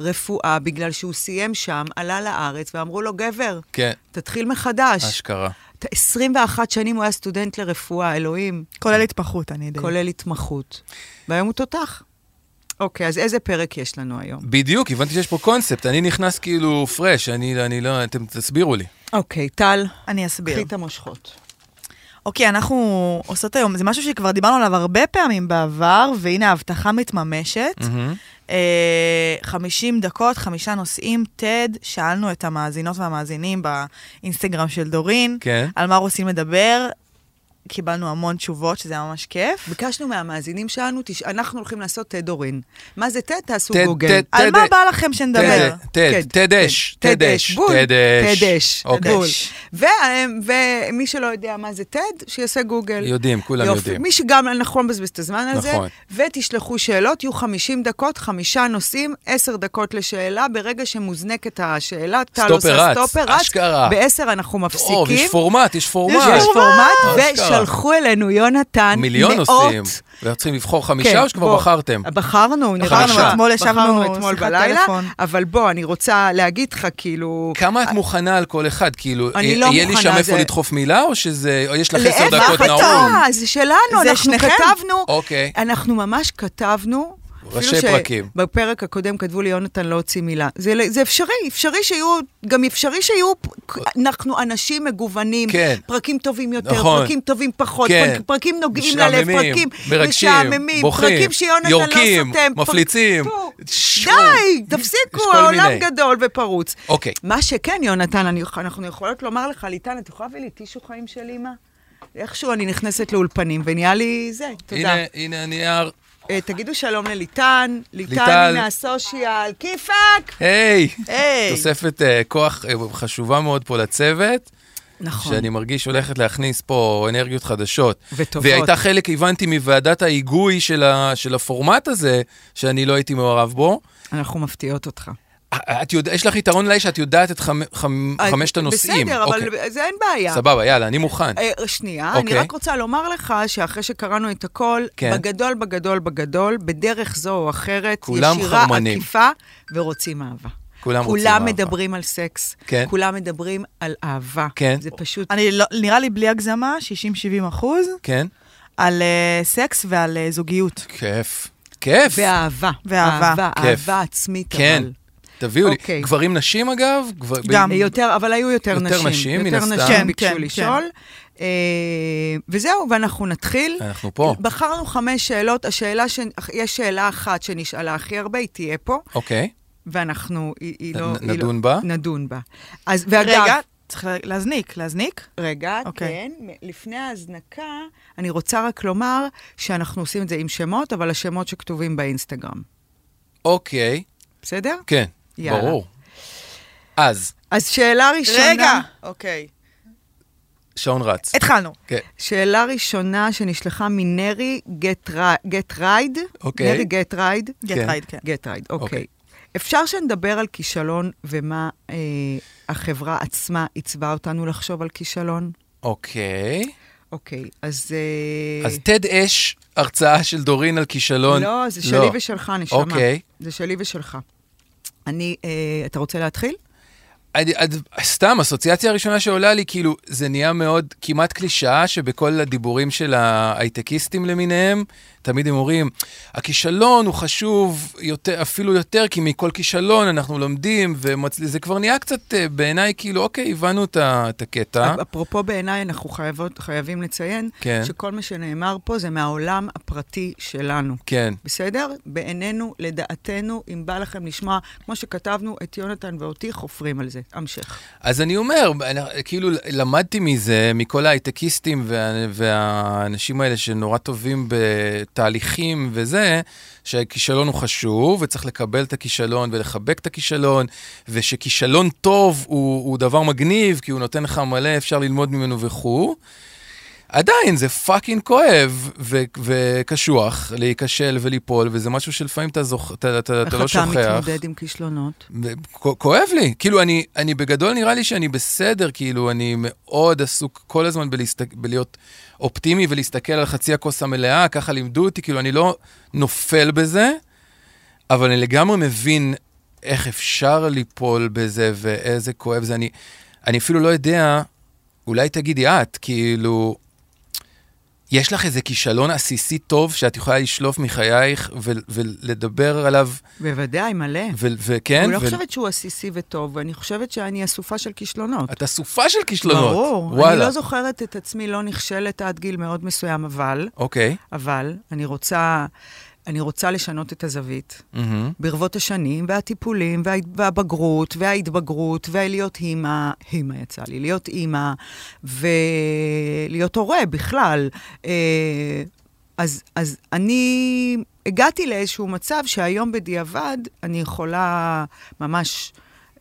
S2: רפואה, בגלל שהוא סיים שם, עלה לארץ, ואמרו לו, גבר,
S1: כן,
S2: תתחיל מחדש.
S1: אשכרה.
S2: ת- 21 שנים הוא היה סטודנט לרפואה, אלוהים.
S4: כולל התמחות, אני די.
S2: כולל התמחות. והיום הוא תותח. אוקיי, אז איזה פרק יש לנו היום?
S1: בדיוק, הבנתי שיש פה קונספט, אני נכנס כאילו פרש, אני אני לא... אתם תסבירו לי.
S2: אוקיי, טל,
S4: אני אסביר.
S2: קחי את המושכות.
S4: אוקיי, אנחנו עושות היום, זה משהו שכבר דיברנו עליו הרבה פעמים בעבר, והנה ההבטחה מתממשת.
S1: Oh,
S4: אה, 50 דקות, חמישה נושאים, TED, שאלנו את המאזינות והמאזינים באינסטגרם של דורין,
S1: כן.
S4: על מה רוצים לדבר. קיבלנו המון תשובות, שזה היה ממש כיף.
S2: ביקשנו מהמאזינים שלנו, תש... אנחנו הולכים לעשות TED אורין. מה זה TED? תעשו
S1: TED,
S2: גוגל.
S1: TED,
S4: על מה
S1: תדע-
S4: בא לכם שנדבר?
S1: תדע- תד,
S2: כן,
S1: תדש,
S2: כן.
S1: תדש,
S2: בול,
S1: תדש.
S2: תדש,
S1: אוקיי.
S2: בול. והם- ומי שלא יודע מה זה TED, שיעשה גוגל.
S1: יודעים, כולם
S2: יופי.
S1: יודעים.
S2: מי שגם, אנחנו לא נבזבז את הזמן על זה.
S1: נכון.
S2: ותשלחו שאלות, יהיו 50 דקות, חמישה נושאים, 10 דקות לשאלה. ברגע שמוזנקת השאלה, טל
S1: סטופר
S2: עושה
S1: רץ,
S2: סטופר רץ.
S1: אשכרה.
S2: ב-10 אנחנו מפסיקים.
S1: טוב, יש פורמט, יש פורמט.
S2: יש פורמט,
S1: אשכרה.
S2: ושלחו אלינו, יונתן,
S1: מיליון
S2: מאות. כן,
S1: עושים. וצריכים לבחור חמישה או שכבר
S2: בוא.
S1: בחרתם?
S2: בחרנו, נראה
S1: כן, בחרנו,
S2: לך.
S4: אתמול ישבנו
S2: בחרנו אתמול
S4: שיחת
S2: בלילה,
S4: טלפון.
S2: אבל בוא, אני רוצה להגיד לך, כאילו...
S1: כמה את מוכנה על כל אחד? כאילו,
S2: אני
S1: אה,
S2: לא
S1: יהיה לי
S2: מוכנה,
S1: שם איפה
S2: זה-
S1: לדחוף מילה, או שזה, או יש לך עשר
S2: להפך,
S1: דקות
S2: מה
S1: נעול?
S2: אתה? זה שלנו,
S4: זה
S2: אנחנו
S4: שניכם.
S2: כתבנו,
S1: אוקיי.
S2: אנחנו ממש כתבנו.
S1: ראשי
S2: אפילו
S1: פרקים.
S2: שבפרק הקודם כתבו לי, יונתן לא הוציא מילה. זה, זה אפשרי, אפשרי שיהיו, גם אפשרי שיהיו, אנחנו אנשים מגוונים.
S1: כן.
S2: פרקים טובים יותר,
S1: נכון.
S2: פרקים טובים פחות,
S1: כן.
S2: פרק, פרקים נוגעים ללב,
S1: משעממים,
S2: פרקים
S1: מרגשים,
S2: משעממים,
S1: בוכים,
S2: פרקים שיונתן
S1: יורקים,
S2: לא סותם. פרק-
S1: מפליצים.
S2: פו,
S1: שו.
S2: די,
S1: יש
S2: תפסיקו,
S1: כל
S2: העולם
S1: מיני.
S2: גדול ופרוץ.
S1: אוקיי.
S2: מה שכן, יונתן, אני, אנחנו יכולות לומר לך, ליטן, את יכולה להביא לי טישו חיים של אימא? איכשהו אני נכנסת לאולפנים, ונהיה לי זה, תודה.
S1: הנה, הנה הנייר.
S2: אה, תגידו שלום לליטן, ליטן,
S1: ליטל.
S2: הנה הסושיאל, כיפאק!
S1: היי!
S4: היי.
S1: תוספת אה, כוח אה, חשובה מאוד פה לצוות.
S2: נכון.
S1: שאני מרגיש שהולכת להכניס פה אנרגיות חדשות.
S2: וטובות.
S1: והיא הייתה חלק, הבנתי, מוועדת ההיגוי של, ה, של הפורמט הזה, שאני לא הייתי מעורב בו. אה,
S2: אנחנו מפתיעות אותך.
S1: את יודע, יש לך יתרון אולי שאת יודעת את חמ, חמ, חמשת הנושאים.
S2: אה, בסדר,
S1: אוקיי.
S2: אבל זה אין בעיה.
S1: סבבה, יאללה, אני מוכן.
S2: אה, שנייה, אני
S1: אוקיי.
S2: רק רוצה לומר לך שאחרי שקראנו את הכל,
S1: כן.
S2: בגדול, בגדול, בגדול, בדרך זו או אחרת,
S1: כולם
S2: ישירה,
S1: חרמנים.
S2: עקיפה, ורוצים אהבה.
S1: כולם רוצים
S2: כולם
S1: אהבה.
S2: מדברים על סקס,
S1: כן.
S2: כולם מדברים על אהבה.
S1: כן.
S2: זה פשוט...
S4: אני לא, נראה לי בלי הגזמה, 60-70 אחוז,
S1: כן?
S4: על אה, סקס ועל אה, זוגיות.
S1: כיף. כיף.
S2: ואהבה.
S4: ואהבה.
S2: אהבה,
S1: כיף.
S2: אהבה עצמית,
S1: כן.
S2: אבל.
S1: תביאו לי.
S2: אוקיי.
S1: גברים נשים, אגב? גבר-
S4: גם.
S1: ב-
S2: יותר, אבל היו יותר,
S1: יותר
S2: נשים.
S1: נשים, מן
S2: יותר
S1: הסתם.
S2: נשים
S4: כן,
S2: ביקשו
S4: כן,
S2: לשאול. אה, וזהו, ואנחנו נתחיל.
S1: אנחנו פה.
S2: בחרנו חמש שאלות. השאלה, ש... יש שאלה אחת שנשאלה הכי הרבה, היא תהיה פה,
S1: אוקיי.
S2: ואנחנו, היא, היא
S1: נ-
S2: לא...
S1: נ-
S2: היא לא-
S1: נדון בה?
S2: נדון בה. אז, ואגב...
S4: רגע, צריך לה- להזניק, להזניק.
S2: רגע,
S4: אוקיי.
S2: כן, מ- לפני ההזנקה, אני רוצה רק לומר שאנחנו עושים את זה עם שמות, אבל השמות שכתובים באינסטגרם,
S1: אוקיי.
S2: בסדר?
S1: כן.
S2: יאללה.
S1: ברור. אז,
S2: אז שאלה ראשונה...
S4: רגע, אוקיי.
S1: שעון רץ.
S4: התחלנו.
S1: כן.
S2: שאלה ראשונה שנשלחה מנרי גטרייד.
S1: אוקיי.
S2: נרי גטרייד.
S4: גט
S1: כן.
S4: רייד, כן.
S2: גטרייד,
S1: אוקיי.
S2: אוקיי. אפשר שנדבר על כישלון ומה אה, החברה עצמה עיצבה אותנו לחשוב על כישלון?
S1: אוקיי.
S2: אוקיי, אז... אה,
S1: אז תד אש, הרצאה של דורין על כישלון.
S2: לא, זה שלי ושלך, נשמה.
S1: אוקיי.
S2: זה שלי ושלך. אני, אה, אתה רוצה להתחיל?
S1: אני, עד- סתם, אסוציאציה הראשונה שעולה לי, כאילו, זה נהיה מאוד כמעט קלישאה שבכל הדיבורים של ההייטקיסטים למיניהם, תמיד הם אומרים, הכישלון הוא חשוב יותר, אפילו יותר, כי מכל כישלון אנחנו לומדים, וזה כבר נהיה קצת אה, בעיניי, כאילו, אוקיי, הבנו את ה- את הקטע.
S2: אפרופו בעיניי, אנחנו חייבות, חייבים לציין,
S1: אה? כן.
S2: שכל מה שנאמר פה זה מהעולם הפרטי שלנו.
S1: כן.
S2: בסדר? בעינינו, לדעתנו, אם בא לכם לשמוע, כמו שכתבנו, את יונתן ואותי חופרים על זה. המשך.
S1: אז אני אומר, אני- כאילו למדתי מזה, מכל ההייטקיסטים וה, והאנשים האלה שנורא טובים בתהליכים וזה, שהכישלון הוא חשוב, וצריך לקבל את הכישלון ולחבק את הכישלון, ושכישלון טוב הוא, הוא דבר מגניב, כי הוא נותן לך מלא, אפשר ללמוד ממנו וכו'. עדיין, זה פאקינג כואב ו- וקשוח להיכשל וליפול, וזה משהו שלפעמים אתה, זוכ... אתה, אתה, אתה לא שוכח.
S2: איך אתה מתמודד עם כישלונות?
S1: כ- כואב לי, כאילו אני, אני בגדול נראה לי שאני בסדר, כאילו אני מאוד עסוק כל הזמן בלהסת... בלהיות אופטימי ולהסתכל על חצי הכוס המלאה, ככה לימדו אותי, כאילו אני לא נופל בזה, אבל אני לגמרי מבין איך אפשר ליפול בזה ואיזה כואב זה. אני, אני אפילו לא יודע, אולי תגידי את, כאילו, יש לך איזה כישלון עסיסי טוב שאת יכולה לשלוף מחייך ו- ולדבר עליו,
S2: בוודאי, מלא.
S1: ו- וכן?
S2: אני לא
S1: כן, ו-
S2: חושבת שהוא עסיסי וטוב, אני חושבת שאני אסופה של כישלונות.
S1: את אסופה של כישלונות.
S2: ברור.
S1: וואלה.
S2: אני לא זוכרת את עצמי לא נכשלת עד גיל מאוד מסוים, אבל,
S1: אוקיי.
S2: אבל, אני רוצה אני רוצה לשנות את הזווית.
S1: מהמם.
S2: ברבות השנים, והטיפולים, וה, והבגרות, וההתבגרות, ולהיות אימא, אימא יצא לי, להיות אימא, ולהיות הורה בכלל. אה, אז, אז אני הגעתי לאיזשהו מצב שהיום בדיעבד אני יכולה ממש...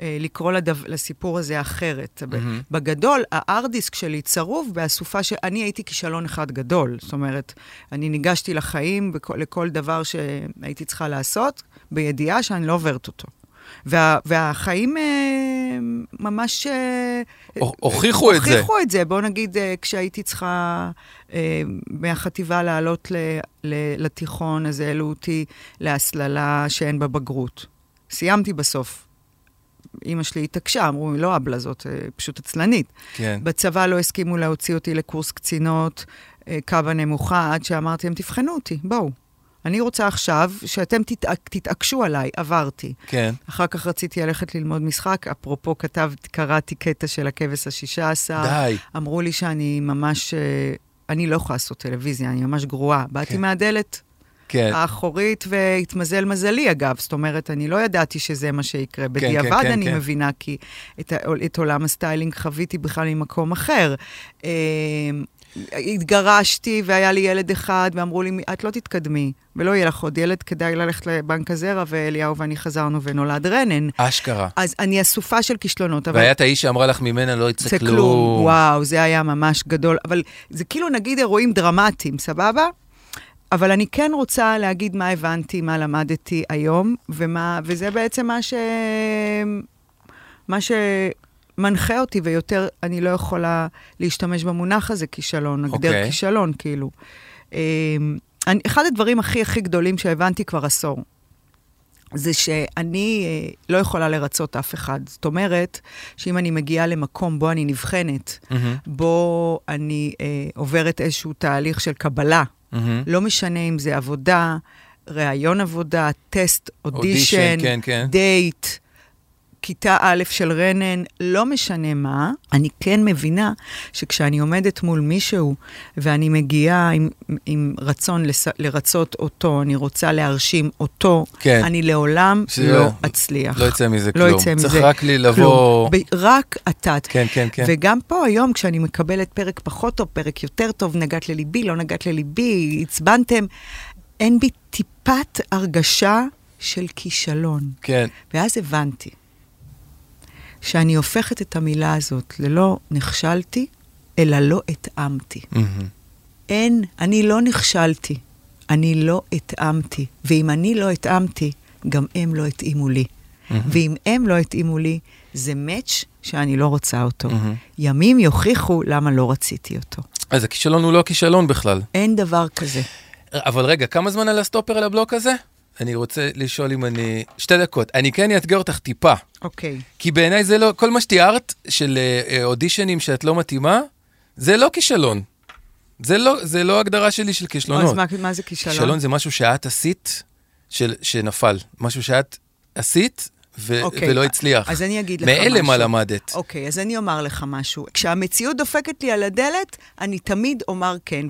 S2: אה, לקרוא לדו, לסיפור הזה אחרת. Mm-hmm. בגדול, הארדיסק שלי צרוב באסופה ש... אני הייתי כישלון אחד גדול. זאת אומרת, אני ניגשתי לחיים בכל, לכל דבר שהייתי צריכה לעשות, בידיעה שאני לא עוברת אותו. וה, והחיים אה, ממש... אה,
S1: הוכ- הוכיחו את זה.
S2: הוכיחו את זה. בואו נגיד, אה, כשהייתי צריכה אה, מהחטיבה לעלות ל, ל, לתיכון, אז העלו אותי להסללה שאין בה בגרות. סיימתי בסוף. אימא שלי התעקשה, אמרו, היא לא אבלה זאת, אה, פשוט עצלנית.
S1: כן.
S2: בצבא לא הסכימו להוציא אותי לקורס קצינות, אה, קו הנמוכה, עד שאמרתי להם, תבחנו אותי, בואו. אני רוצה עכשיו שאתם תתע... תתעקשו עליי, עברתי.
S1: כן.
S2: אחר כך רציתי ללכת ללמוד משחק, אפרופו כתב, קראתי קטע של הכבש השישה עשר.
S1: די.
S2: אמרו לי שאני ממש, אה, אני לא יכולה לעשות טלוויזיה, אני ממש גרועה. באתי
S1: כן.
S2: מהדלת
S1: כן.
S2: האחורית והתמזל מזלי, אגב. זאת אומרת, אני לא ידעתי שזה מה שיקרה. בדיעבד
S1: כן,
S2: אני
S1: כן.
S2: מבינה, כי את, ה- את עולם הסטיילינג חוויתי בכלל ממקום אחר. אה, התגרשתי והיה לי ילד אחד, ואמרו לי, את לא תתקדמי, ולא יהיה לך עוד ילד, כדאי ללכת לבנק הזרע, ואליהו ואני חזרנו ונולד רנן.
S1: אשכרה.
S2: אז אני אסופה של כישלונות, אה, אבל...
S1: והיה את האיש שאמרה לך ממנה לא יצא
S2: זה כלום.
S1: כלום.
S2: וואו, זה היה ממש גדול. אבל זה כאילו נגיד אירועים דרמטיים, סבבה? אבל אני כן רוצה להגיד מה הבנתי, מה למדתי היום, ומה, וזה בעצם מה ש... מה שמנחה אותי, ויותר אני לא יכולה להשתמש במונח הזה, כישלון, נגדיר
S1: אוקיי.
S2: okay. כישלון, כאילו. אמ, אני, אחד הדברים הכי הכי גדולים שהבנתי כבר עשור, זה שאני אה, לא יכולה לרצות אף אחד. זאת אומרת, שאם אני מגיעה למקום בו אני נבחנת,
S1: מהמם,
S2: בו אני אה, עוברת איזשהו תהליך של קבלה,
S1: מהמם.
S2: לא משנה אם זה עבודה, ראיון עבודה, טסט, אודישן,
S1: כן, כן.
S2: דייט, כיתה א' של רנן, לא משנה מה, אני כן מבינה שכשאני עומדת מול מישהו ואני מגיעה עם, עם רצון לס, לרצות אותו, אני רוצה להרשים אותו,
S1: כן.
S2: אני לעולם
S1: שלא-
S2: לא אצליח.
S1: לא יצא מזה
S2: לא
S1: כלום.
S2: יצא
S1: צריך
S2: מזה
S1: רק לי לבוא...
S2: כלום. ב- רק אתה.
S1: כן, כן, כן.
S2: וגם פה היום, כשאני מקבלת פרק פחות טוב, פרק יותר טוב, נגעת לליבי, לא נגעת לליבי, עצבנתם, אין בי טיפת הרגשה של כישלון.
S1: כן.
S2: ואז הבנתי שאני הופכת את המילה הזאת ללא נכשלתי, אלא לא התאמתי.
S1: מהמם.
S2: אין, אני לא נכשלתי, אני לא התאמתי. ואם אני לא התאמתי, גם הם לא התאימו לי. ואם הם לא התאימו לי, זה מאץ' שאני לא רוצה אותו. ימים יוכיחו למה לא רציתי אותו.
S1: אז הכישלון הוא לא כישלון בכלל.
S2: אין דבר כזה.
S1: אבל רגע, כמה זמן על הסטופר על הבלוק הזה? אני רוצה לשאול אם אני... שתי דקות. אני כן אאתגר אותך טיפה,
S2: אוקיי.
S1: כי בעיניי זה לא... כל מה שתיארת של אה, אה, אודישנים שאת לא מתאימה, זה לא כישלון. זה לא, זה לא הגדרה שלי של כישלונות.
S2: אז מה, מה זה כישלון?
S1: כישלון זה משהו שאת עשית, של, שנפל. משהו שאת עשית ו,
S2: אוקיי,
S1: ולא הצליח.
S2: אז אני אגיד לך
S1: מאלה מה
S2: משהו.
S1: למדת.
S2: אוקיי, אז אני אומר לך משהו. כשהמציאות דופקת לי על הדלת, אני תמיד אומר כן.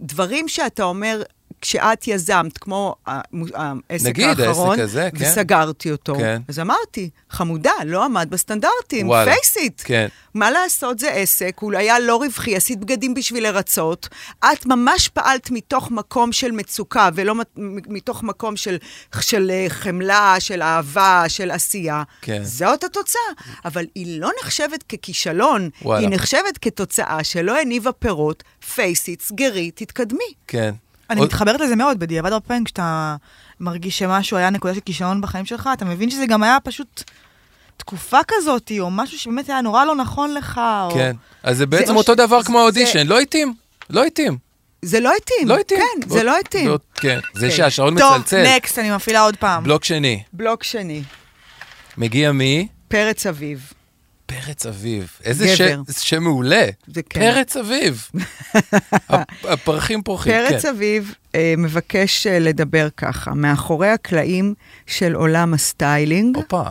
S2: ודברים שאתה אומר... כשאת יזמת, כמו המו- העסק
S1: נגיד, העסק
S2: האחרון,
S1: הזה, כן.
S2: וסגרתי אותו,
S1: כן.
S2: אז אמרתי, חמודה, לא עמד בסטנדרטים,
S1: וואלה,
S2: פייס איט.
S1: כן.
S2: מה לעשות, זה עסק, הוא היה לא רווחי, עשית בגדים בשביל לרצות. את ממש פעלת מתוך מקום של מצוקה, ולא מת- מ- מתוך מקום של, של אה, חמלה, של אהבה, של עשייה.
S1: כן.
S2: זאת התוצאה. אבל היא לא נחשבת ככישלון,
S1: וואלה.
S2: היא נחשבת כתוצאה שלא הניבה פירות, פייס איט, סגרי, תתקדמי.
S1: כן.
S4: אני
S1: עוד-
S4: מתחברת לזה מאוד, בדיעבד הרבה פעמים כשאתה מרגיש שמשהו היה נקודה של כישלון בחיים שלך, אתה מבין שזה גם היה פשוט תקופה כזאת, או משהו שבאמת היה נורא לא נכון לך, או...
S1: כן. אז זה בעצם
S2: או
S1: אותו
S2: ש-
S1: דבר
S2: זה-
S1: כמו האודישן, לא התאים. לא התאים.
S2: זה לא התאים.
S1: לא התאים.
S2: כן,
S1: בוא-
S2: זה לא התאים. אוקיי.
S1: בוא- כן. זה שהשעון
S4: טוב,
S1: מצלצל.
S4: נקסט, אני מפעילה עוד פעם.
S1: בלוק שני.
S2: בלוק שני,
S1: מגיע מי?
S2: פרץ אביב.
S1: פרץ אביב. איזה
S2: גבר.
S1: שם- זה שם מעולה.
S2: זה כן.
S1: פרץ
S2: <laughs>
S1: אביב. הפ- הפרחים פורחים, כן.
S2: פרץ אביב אה, מבקש אה, לדבר ככה, מאחורי הקלעים של עולם הסטיילינג
S1: הופה.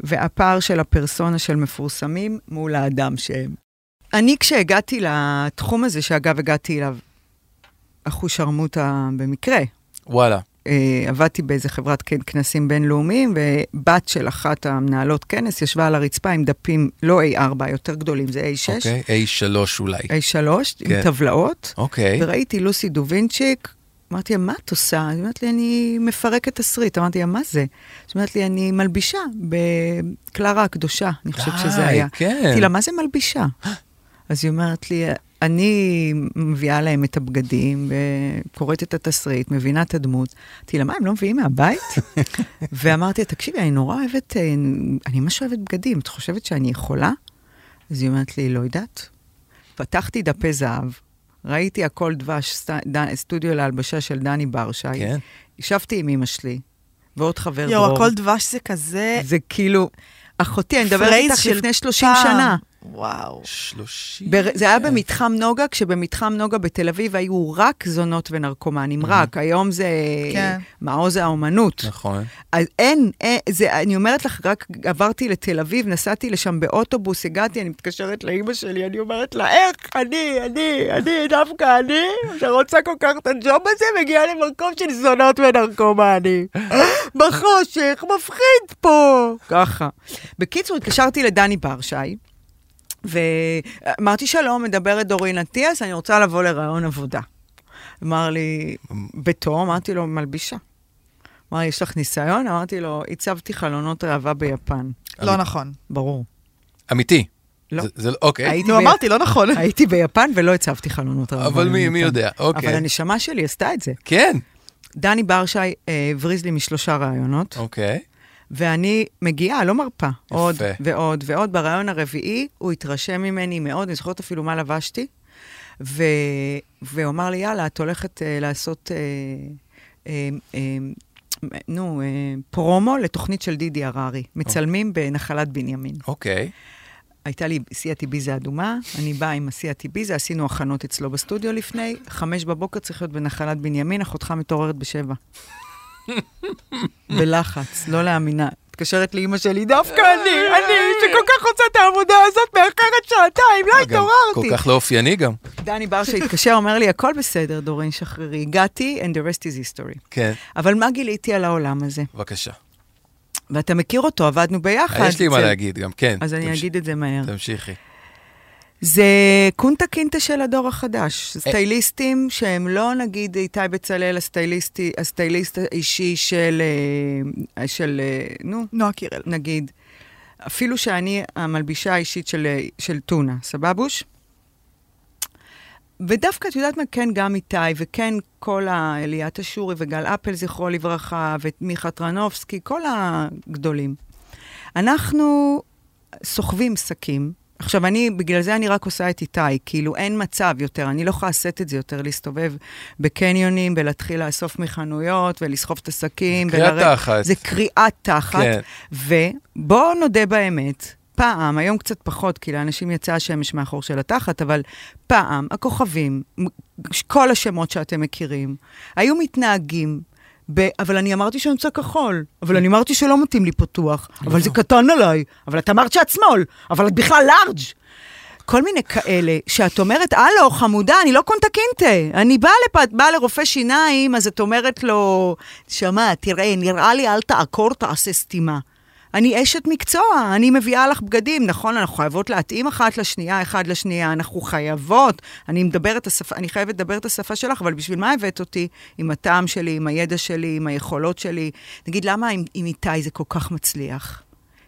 S2: והפער של הפרסונה של מפורסמים מול האדם שהם. אני כשהגעתי לתחום הזה, שאגב הגעתי אליו אחושרמוטה במקרה,
S1: וואלה.
S2: אה, עבדתי באיזה חברת כן- כנסים בינלאומיים, ובת של אחת המנהלות כנס ישבה על הרצפה עם דפים, לא A4, יותר גדולים, זה A6,
S1: אוקיי, A3 אולי.
S2: A3,
S1: כן.
S2: עם טבלאות,
S1: אוקיי.
S2: וראיתי לוסי דובינצ'יק, אמרתי לה, מה את עושה? היא אומרת לי, אני מפרקת תסריט. אמרתי לה, מה זה? אז אומרת לי, אני מלבישה בקלרה הקדושה, אני חושבת שזה
S1: די,
S2: היה.
S1: כן.
S2: אמרתי לה, מה זה מלבישה? <gasps> אז היא אומרת לי, אני מביאה להם את הבגדים, וקוראת את התסריט, מבינה את הדמות. אמרתי לה, מה, הם לא מביאים
S1: <laughs>
S2: מהבית? ואמרתי לה, תקשיבי, אני נורא אוהבת, אה, אני ממש אוהבת בגדים, את חושבת שאני יכולה? אז היא אומרת לי, לא יודעת. פתחתי דפי זהב, ראיתי הכל דבש, סט... ד... סטודיו להלבשה של דני ברשי.
S1: כן.
S2: ישבתי עם אמא שלי, ועוד חבר דרור.
S4: יואו, הכל דבש זה כזה
S2: זה כאילו, אחותי, אני מדברת
S4: פרייז
S2: איתך
S4: של
S2: לפני 30
S4: פעם.
S2: שנה.
S4: וואו.
S1: 30.
S2: בר... זה היה במתחם נוגה, כשבמתחם נוגה בתל אביב היו רק זונות ונרקומנים, רק. היום זה
S4: כן.
S2: מעוז האומנות.
S1: נכון.
S2: אז אין, אין זה, אני אומרת לך, רק עברתי לתל אביב, נסעתי לשם באוטובוס, הגעתי, אני מתקשרת לאימא שלי, אני אומרת לה, איך אני, אני, אני, דווקא אני, שרוצה כל כך את הג'וב הזה, מגיעה למקום של זונות ונרקומנים. בחושך, מפחיד פה. ככה. בקיצור, התקשרתי לדני ברשי. ואמרתי, שלום, מדברת דורין אטיאס, אני רוצה לבוא לראיון עבודה. אמר לי, בתור, אמרתי לו, מלבישה. אמר לי, יש לך ניסיון? אמרתי לו, הצבתי חלונות ראווה ביפן.
S4: לא נכון.
S2: ברור.
S1: אמיתי.
S2: לא.
S1: זה- זה לא, אוקיי.
S2: הייתי
S4: נו,
S2: ב-
S4: אמרתי, לא
S2: <laughs>
S4: נכון.
S2: הייתי ביפן ולא הצבתי חלונות ראווה.
S1: אבל מי- מי
S2: ביפן.
S1: יודע, אוקיי.
S2: אבל הנשמה שלי עשתה את זה.
S1: כן.
S2: דני ברשי אה, הבריז לי משלושה ראיונות,
S1: אוקיי.
S2: ואני מגיעה, לא מרפה. עוד ועוד ועוד. בראיון הרביעי הוא התרשם ממני מאוד, אני זוכרת אפילו מה לבשתי, ו... והוא אמר לי, יאללה, את הולכת אה, לעשות, אה, אה, אה, נו, אה, פרומו לתוכנית של דידי הררי. מצלמים בנחלת בנימין.
S1: אוקיי.
S2: הייתה לי סיאט איביזה אדומה, אני באה עם הסיאט איביזה, עשינו הכנות אצלו בסטודיו לפני, חמש בבוקר צריך להיות בנחלת בנימין, אחותך מתעוררת בשבע. בלחץ, לא להאמינה. מתקשרת לאימא שלי, דווקא אני, אני, שכל כך רוצה את העבודה הזאת, מאחרת שעתיים, לא
S1: גם כל
S2: התעוררתי.
S1: כך לא אופייני גם.
S2: דני ברשה התקשר, אומר לי, הכל בסדר, דורין שחררי, הגעתי, and the rest is history.
S1: כן.
S2: אבל מה גיליתי על העולם הזה?
S1: בבקשה.
S2: ואתה מכיר אותו, עבדנו ביחד.
S1: יש לי מה
S2: אצל-
S1: להגיד גם, כן.
S2: אז אני
S1: תמש-
S2: אגיד את זה מהר.
S1: תמשיכי.
S2: זה קונטה קינטה של הדור החדש. סטייליסטים שהם לא, נגיד, איתי בצלאל, הסטייליסטי, הסטייליסט האישי של, אה, של, אה, נו,
S4: נועה קירל.
S2: נגיד, אפילו שאני המלבישה האישית של, אה, של טונה, סבבוש? ודווקא, את יודעת מה? כן, גם איתי, וכן כל ה... אליאת אשורי וגל אפל, זכרו לברכה, ומיכה טרנובסקי, כל הגדולים. אנחנו סוחבים שקים. עכשיו, אני, בגלל זה אני רק עושה את איתי, כאילו אין מצב יותר, אני לא יכולה לשאת את זה יותר, להסתובב בקניונים ולהתחיל לאסוף מחנויות ולסחוב את השקים.
S1: זה קריאת
S2: ולרדת.
S1: תחת.
S2: זה קריאת תחת.
S1: כן.
S2: ובואו נודה באמת, פעם, היום קצת פחות, כי לאנשים יצא השמש מאחור של התחת, אבל פעם, הכוכבים, מ- כל השמות שאתם מכירים, היו מתנהגים. ב- אבל אני אמרתי שאני רוצה כחול, אבל אני אמרתי שלא מתאים לי פתוח, אבל זה קטן עליי, אבל את אמרת שאת שמאל, אבל את בכלל לארג'. כל מיני כאלה, שאת אומרת, הלו, חמודה, אני לא קונטה קינטה. אני באה לפ... בא לרופא שיניים, אז את אומרת לו, שמע, תראה, נראה לי אל תעקור, תעשה סתימה. אני אשת מקצוע, אני מביאה לך בגדים. נכון, אנחנו חייבות להתאים אחת לשנייה, אחד לשנייה, אנחנו חייבות. אני מדברת, השפה, אני חייבת לדבר את השפה שלך, אבל בשביל מה הבאת אותי? עם הטעם שלי, עם הידע שלי, עם היכולות שלי. נגיד, למה עם, עם איתי זה כל כך מצליח?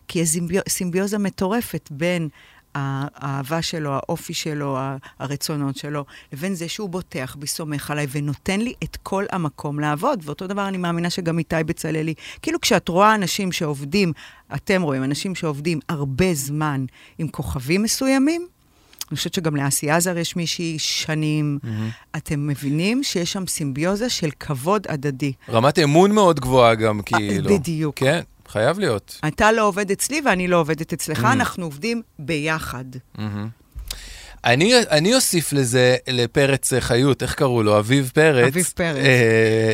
S2: כי יש סימביו- סימביוזה מטורפת בין ה- האהבה שלו, האופי שלו, ה- הרצונות שלו, לבין זה שהוא בוטח בי, סומך עליי ונותן לי את כל המקום לעבוד. ואותו דבר אני מאמינה שגם איתי בצלאלי. כאילו כשאת רואה אנשים שעובדים, אתם רואים, אנשים שעובדים הרבה זמן עם כוכבים מסוימים, אני חושבת שגם לאסי עזר יש מישהי שנים. Mm-hmm. אתם מבינים שיש שם סימביוזה של כבוד הדדי.
S1: רמת אמון מאוד גבוהה גם, כאילו.
S2: אה, בדיוק.
S1: כן, חייב להיות.
S2: אתה לא עובד אצלי ואני לא עובדת אצלך, אנחנו עובדים ביחד.
S1: אני, אני אוסיף לזה, לפרץ אה, חיות, איך קראו לו? אביב פרץ.
S2: אביב פרץ.
S1: אה,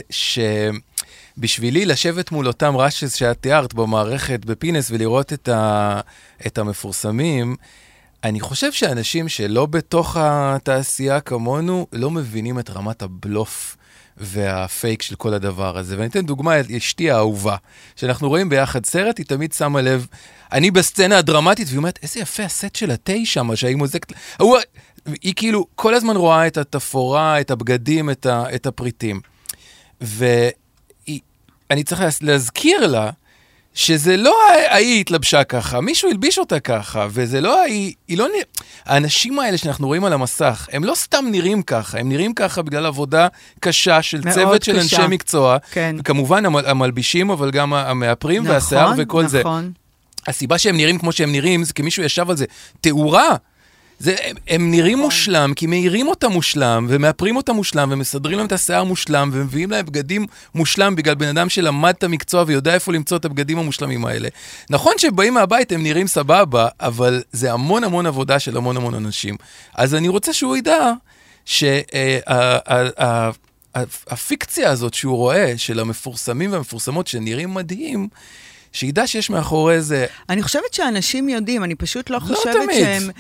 S1: שבשבילי לשבת מול אותם ראשס שאת תיארת במערכת בפינס ולראות את, ה, את המפורסמים, אני חושב שאנשים שלא בתוך התעשייה כמונו לא מבינים את רמת הבלוף והפייק של כל הדבר הזה. ואני אתן דוגמה, אשתי האהובה, שאנחנו רואים ביחד סרט, היא תמיד שמה לב, אני בסצנה הדרמטית, והיא אומרת, איזה יפה הסט של התה שם, שהיא מוזקת... הוא... היא כאילו כל הזמן רואה את התפאורה, את הבגדים, את, ה... את הפריטים. ואני צריך להזכיר לה, שזה לא ההיא התלבשה ככה, מישהו הלביש אותה ככה, וזה לא ההיא, היא לא נ... האנשים האלה שאנחנו רואים על המסך, הם לא סתם נראים ככה, הם נראים ככה בגלל עבודה קשה של
S2: מאוד
S1: צוות של
S2: קשה.
S1: אנשי מקצוע.
S2: כן.
S1: כמובן המ... המלבישים, אבל גם המאפרים
S2: נכון,
S1: והשיער וכל זה.
S2: נכון.
S1: הסיבה שהם נראים כמו שהם נראים, זה כי מישהו ישב על זה. תאורה. זה, הם, הם נראים מושלם, כי מאירים אותם מושלם, ומאפרים אותם מושלם, ומסדרים להם את השיער מושלם, ומביאים להם בגדים מושלם בגלל בן אדם שלמד את המקצוע ויודע איפה למצוא את הבגדים המושלמים האלה. נכון שהם באים מהבית, הם נראים סבבה, אבל זה המון המון עבודה של המון המון אנשים. אז אני רוצה שהוא ידע אה, שהפיקציה הזאת שהוא רואה, של המפורסמים והמפורסמות שנראים מדהים, שידע שיש מאחורי זה
S2: אני חושבת שאנשים יודעים, אני פשוט לא חושבת
S1: תמיד.
S2: שהם...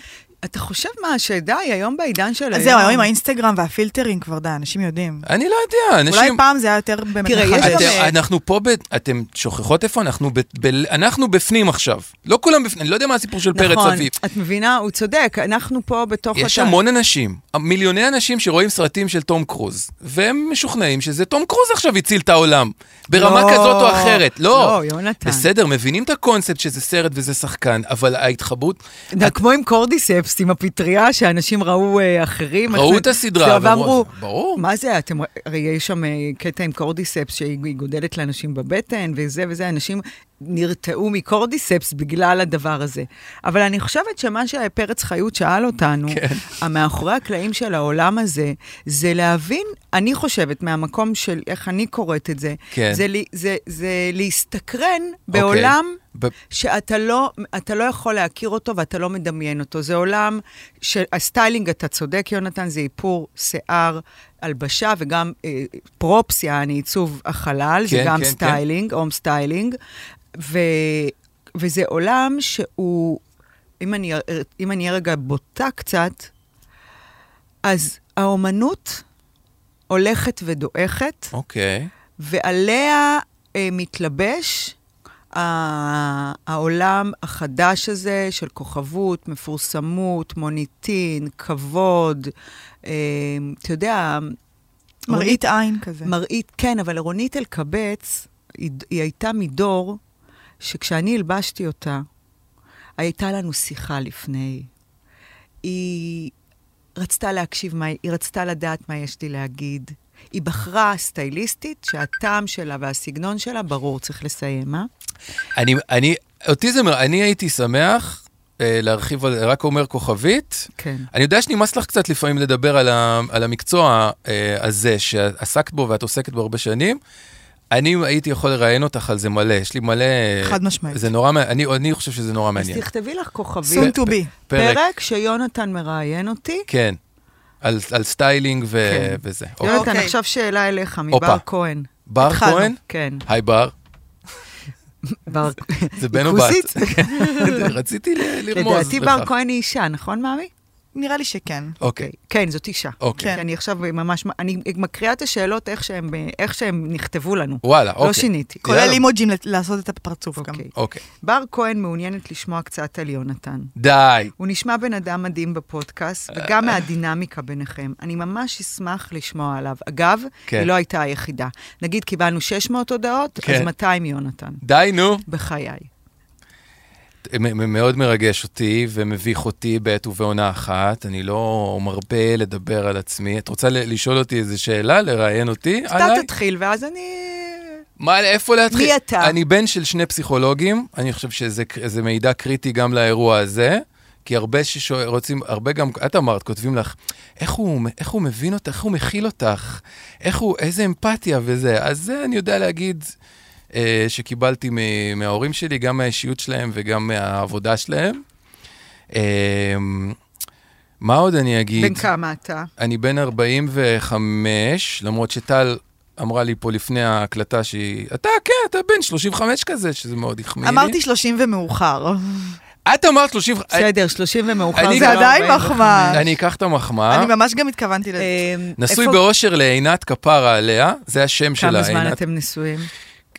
S2: אתה חושב מה, שדי, היום בעידן של היום...
S4: אז זהו, היום עם האינסטגרם והפילטרים כבר, די, אנשים יודעים.
S1: אני לא יודע, אנשים... אה,
S4: אולי פעם זה היה יותר באמת
S2: תראה, יש
S4: מחדש.
S2: גם-
S1: אתם, אנחנו פה, ב... אתם שוכחות איפה? אנחנו, ב... ב... אנחנו בפנים עכשיו. לא כולם בפנים, אני לא יודע מה הסיפור של פרץ
S2: נכון,
S1: אביב.
S2: את מבינה, הוא צודק, אנחנו פה בתוך...
S1: יש
S2: אותה-
S1: המון אנשים, מיליוני אנשים שרואים סרטים של תום קרוז, והם משוכנעים שזה תום קרוז עכשיו הציל את העולם, ברמה
S2: לא.
S1: כזאת או אחרת. לא,
S2: לא, יונתן.
S1: בסדר, מבינים את הקונספט שזה סרט וזה שחקן, אבל ההתחברות, אוקיי.
S2: זה כמו עם קורדיספס, עם הפטריה, שאנשים ראו אה, אחרים.
S1: ראו
S2: אחרי-
S1: את הסדרה,
S2: זה,
S1: ואמרו,
S2: ואמרו,
S1: ברור.
S2: מה זה, אתם, הרי יש שם אה, קטע עם קורדיספס שהיא היא גודלת לאנשים בבטן, וזה וזה, אנשים נרתעו מקורדיספס בגלל הדבר הזה. אבל אני חושבת שמה שפרץ חיות שאל אותנו,
S1: כן.
S2: המאחורי הקלעים של העולם הזה, זה להבין, אני חושבת, מהמקום של איך אני קוראת את זה,
S1: כן. אוקיי.
S2: זה, לי- זה, זה להסתקרן בעולם...
S1: ב-
S2: שאתה לא, אתה לא יכול להכיר אותו ואתה לא מדמיין אותו. זה עולם שהסטיילינג, אתה צודק, יונתן, זה איפור, שיער, הלבשה וגם אה, פרופס, יעני עיצוב החלל, כן, זה
S1: כן,
S2: גם
S1: כן,
S2: כן,
S1: כן.
S2: סטיילינג, הום סטיילינג. ו, וזה עולם שהוא, אם אני, אם אני אהיה רגע בוטה קצת, אז האומנות הולכת ודועכת.
S1: אוקיי.
S2: ועליה אה, מתלבש ה- העולם החדש הזה של כוכבות, מפורסמות, מוניטין, כבוד, אה, אתה יודע,
S4: מראית עין כזה.
S2: מראית, כן, אבל רונית אלקבץ, היא, היא הייתה מדור שכשאני הלבשתי אותה, הייתה לנו שיחה לפני. היא רצתה להקשיב, מה, היא רצתה לדעת מה יש לי להגיד. היא בחרה סטייליסטית שהטעם שלה והסגנון שלה ברור, צריך לסיים, אה?
S1: אני, אני, אותי זה, מר- אני הייתי שמח אה, להרחיב על, רק אומר כוכבית.
S2: כן.
S1: אני יודע שנמאס לך קצת לפעמים לדבר על, ה, על המקצוע אה, הזה שעסקת בו ואת עוסקת בו הרבה שנים. אני הייתי יכול לראיין אותך על זה מלא, יש לי מלא...
S4: חד משמעית.
S1: זה נורא מעניין, אני, אני חושב שזה נורא
S2: אז
S1: מעניין.
S2: תכתבי לך
S4: סון
S2: כוכבית,
S4: טו בי.
S2: פרק שיונתן מראיין אותי.
S1: כן. על, על סטיילינג ו,
S2: כן.
S1: וזה. אוקיי.
S2: יונתן,
S4: אוקיי.
S2: עכשיו שאלה אליך,
S1: הופה.
S2: מבר כהן.
S1: בר
S4: התחלנו.
S1: כהן?
S2: כן,
S1: היי בר,
S2: בר...
S1: <laughs> זה בן או בת.
S2: כוסית?
S1: <laughs> רציתי ל- לרמוז לך.
S2: לדעתי בר כהן היא אישה, נכון, מאמי?
S4: נראה לי שכן.
S1: אוקיי,
S2: כן, זאת אישה.
S1: אוקיי.
S4: כן.
S2: אני עכשיו ממש, אני מקריאה את השאלות איך שהם, איך שהם נכתבו לנו.
S1: וואלה, אוקיי.
S2: לא שיניתי.
S1: יאללה.
S4: כולל אימוג'ים לת- לעשות את הפרצוף גם.
S2: אוקיי.
S1: אוקיי.
S2: בר כהן מעוניינת לשמוע קצת על יונתן.
S1: די.
S2: הוא נשמע בן אדם מדהים בפודקאסט, וגם
S1: אה.
S2: מהדינמיקה ביניכם. אני ממש אשמח לשמוע עליו. אגב,
S1: כן.
S2: היא לא הייתה היחידה. נגיד קיבלנו 600 הודעות,
S1: כן.
S2: אז 200 יונתן.
S1: די, נו.
S2: בחיי.
S1: מ- מ- מאוד מרגש אותי ומביך אותי בעת ובעונה אחת. אני לא מרבה לדבר על עצמי. את רוצה ל- לשאול אותי איזו שאלה, לראיין אותי
S2: אתה
S1: עליי?
S2: תתחיל, ואז אני...
S1: מה, איפה להתחיל?
S2: מי אתה?
S1: אני בן של שני פסיכולוגים, אני חושב שזה ק- זה מידע קריטי גם לאירוע הזה. כי הרבה שרוצים, הרבה גם, את אמרת, כותבים לך, איך הוא, איך הוא מבין אותך, איך הוא מכיל אותך, איך הוא, איזה אמפתיה וזה. אז זה אני יודע להגיד אה, שקיבלתי מ- מההורים שלי, גם מהאישיות שלהם וגם מהעבודה שלהם. אה, מה עוד אני אגיד?
S2: בן כמה אתה?
S1: אני בן 45, למרות שטל אמרה לי פה לפני ההקלטה שהיא... אתה, כן, אתה בן 35 כזה, שזה מאוד החמיא לי.
S4: אמרתי 30 ומאוחר.
S1: את אמרת 30...
S2: בסדר, 30 ומאוחר.
S1: אני
S4: זה עדיין מחמאה.
S1: אני אקח את המחמאה.
S4: אני ממש גם התכוונתי לזה.
S2: אמ,
S1: נשוי
S2: איפה-
S1: באושר לעינת כפרה עליה, זה השם
S2: כמה
S1: שלה,
S2: זמן
S1: עינת.
S2: אתם נשואים?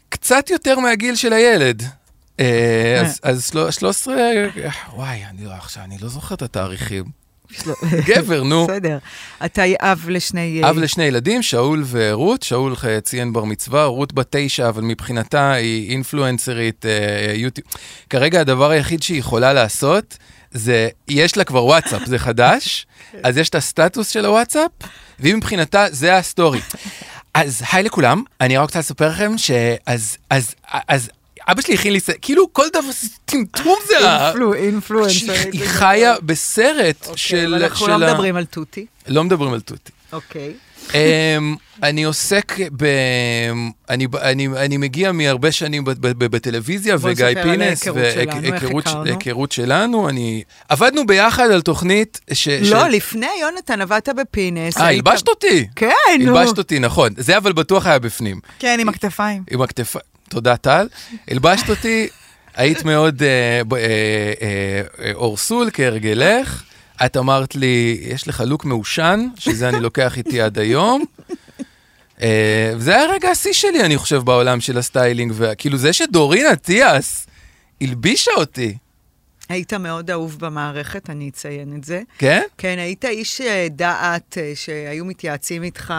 S1: קצת יותר מהגיל של הילד. אה, אז- אז שלו- 13, אה, וואי, אני לא- עכשיו, אני לא זוכר את התאריכים. גבר,
S2: <laughs>
S1: נו.
S2: בסדר. אתה אב לשני... אה,
S1: אב לשני ילדים, שאול ורות. שאול אה, ציין בר מצווה, רות בת תשע, אבל מבחינתה היא אינפלואנסרית, אה, יוטיוב. כרגע הדבר היחיד שהיא יכולה לעשות, זה, יש לה כבר וואטסאפ, זה
S2: <laughs>
S1: חדש, אז יש את הסטטוס של הוואטסאפ, והיא מבחינתה, זה הסטורי. אז היי לכולם, אני רק רוצה לספר לכם ש... אז, אז, אז, אבא שלי הכין לי, ס- כאילו כל דבר, טמטום זה ה...
S2: אינפלו- אינפלואנסר.
S1: היא חיה בסרט אה, של...
S2: אבל אנחנו לא
S1: של ה-
S2: מדברים על תותי.
S1: לא מדברים על תות.
S2: אוקיי.
S1: אמ, אני עוסק ב... אני, אני, אני מגיע מהרבה שנים ב, ב, ב, בטלוויזיה,
S2: בוא
S1: וגיא
S2: נספר על
S1: פינס,
S2: ההיכרות שלנו, איך
S1: ש-
S2: הכרנו?
S1: היכרות שלנו, אני... עבדנו ביחד על תוכנית ש...
S2: לא,
S1: ש...
S2: לפני יונתן עבדת בפינס.
S1: אה,
S2: היית-
S1: הלבשת אותי.
S2: כן, נו.
S1: הלבשת אותי, נכון. זה אבל בטוח היה בפנים.
S4: כן, עם הכתפיים.
S1: עם הכתפיים, תודה טל. הלבשת אותי, היית מאוד אה, ב- אה, אה, אה, אורסול כהרגלך. את אמרת לי, יש לך לוק מעושן, שזה אני לוקח איתי עד היום. אה, וזה היה רגע השיא שלי, אני חושב, בעולם של הסטיילינג, וכאילו זה שדורין אטיאס הלבישה אותי,
S2: היית מאוד אהוב במערכת, אני אציין את זה.
S1: כן?
S2: כן, היית איש אה, דעת אה, שהיו מתייעצים איתך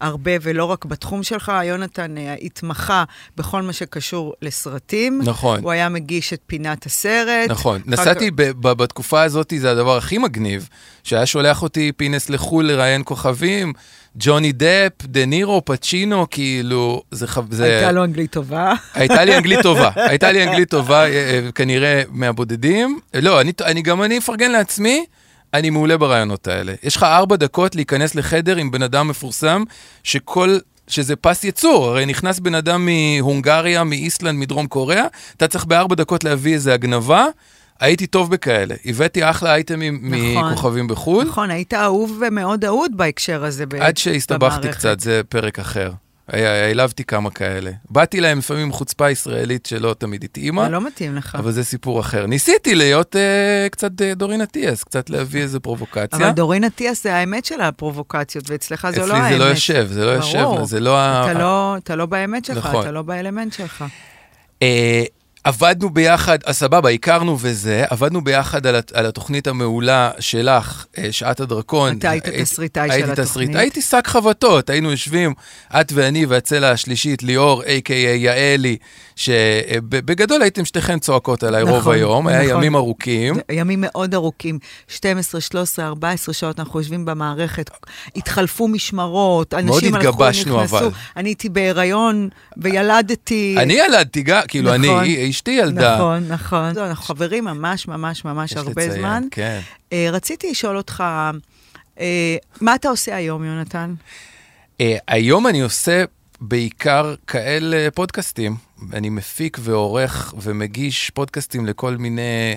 S2: הרבה, ולא רק בתחום שלך. יונתן אה, התמחה בכל מה שקשור לסרטים.
S1: נכון.
S2: הוא היה מגיש את פינת הסרט.
S1: נכון.
S2: אחר
S1: נסעתי ב- ב- בתקופה הזאת, זה הדבר הכי מגניב, שהיה שולח אותי פינס לחו"ל לראיין כוכבים, ג'וני דפ, דה נירו, פצ'ינו, כאילו, זה... חב-
S2: כך-
S1: זה-
S2: הייתה לו אנגלית טובה.
S1: הייתה לי אנגלית טובה, הייתה לי אנגלית טובה, אה, אה, כנראה מהבודדים. לא, אני, אני גם אני אפרגן לעצמי, אני מעולה ברעיונות האלה. יש לך ארבע דקות להיכנס לחדר עם בן אדם מפורסם, שכל... שזה פס ייצור, הרי נכנס בן אדם מהונגריה, מאיסלנד, מדרום קוריאה, אתה צריך בארבע דקות להביא איזה הגנבה, הייתי טוב בכאלה. הבאתי אחלה אייטמים
S2: נכון.
S1: מכוכבים בחו"ל,
S2: נכון, היית אהוב ומאוד אהוד בהקשר הזה. ב-
S1: עד שהסתבכתי
S2: במערכת.
S1: קצת, זה פרק אחר. היה- העלבתי כמה כאלה. באתי להם לפעמים עם חוצפה ישראלית שלא תמיד התאימה.
S2: זה לא מתאים לך.
S1: אבל זה סיפור אחר. ניסיתי להיות אה, קצת אה, דורין אטיאס, קצת להביא איזה פרובוקציה.
S2: אבל דורין אטיאס זה האמת של הפרובוקציות, ואצלך זה לא האמת.
S1: אצלי זה לא יושב, זה לא
S2: ברור.
S1: יושב, זה לא... ה-
S2: אתה לא, אתה לא באמת שלך,
S1: נכון.
S2: אתה לא באלמנט שלך.
S1: אה, עבדנו ביחד, אז סבבה, הכרנו וזה, עבדנו ביחד על, הת- על התוכנית המעולה שלך, אה, שעת הדרקון.
S2: אתה היית
S1: הייתי-
S2: תסריטאי של
S1: הייתי
S2: התוכנית.
S1: הייתי שק חבטות, היינו יושבים, את ואני והצלע השלישית, ליאור, a.k.a. יעלי, שבגדול הייתם שתיכן צועקות עליי רוב
S2: נכון,
S1: היום, היה
S2: נכון.
S1: ימים ארוכים.
S2: זה ימים מאוד ארוכים, 12, 13, 14 שעות, אנחנו יושבים במערכת, התחלפו משמרות, אנשים הלכו, נכנסו.
S1: התגבשנו, אבל.
S2: אני הייתי בהיריון וילדתי.
S1: אני ילדתי גם, כאילו
S2: נכון.
S1: אני, אשתי ילדה.
S2: נכון, נכון. לא, אנחנו חברים ממש ממש ממש
S1: יש
S2: הרבה
S1: לציין,
S2: זמן.
S1: כן.
S2: אה, רציתי לשאול אותך, אה, מה אתה עושה היום, יונתן?
S1: אה, היום אני עושה בעיקר כאלה פודקאסטים. אני מפיק ועורך ומגיש פודקאסטים לכל מיני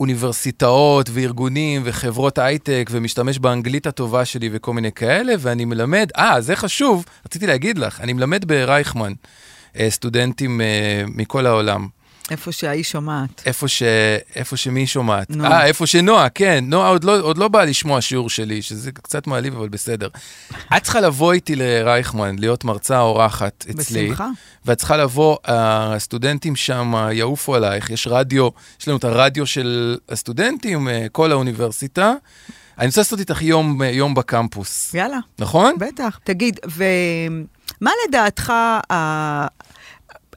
S1: אוניברסיטאות וארגונים וחברות הייטק, ומשתמש באנגלית הטובה שלי וכל מיני כאלה, ואני מלמד, אה, זה חשוב, רציתי להגיד לך, אני מלמד ברייכמן אה, סטודנטים אה, מכל העולם.
S2: איפה שהאי שומעת.
S1: איפה, ש... איפה שמי שומעת.
S2: נועה.
S1: אה, איפה שנועה, כן. נועה עוד לא, עוד לא באה לשמוע שיעור שלי, שזה קצת מעליב, אבל בסדר. את צריכה לבוא איתי לרייכמן, להיות מרצה אורחת אצלי.
S2: בשמחה.
S1: ואת צריכה לבוא, אה, הסטודנטים שם יעופו עלייך, יש רדיו, יש לנו את הרדיו של הסטודנטים, אה, כל האוניברסיטה. אני רוצה לעשות איתך יום, אה, יום בקמפוס,
S2: יאללה.
S1: נכון?
S2: בטח. תגיד, ומה לדעתך, ה...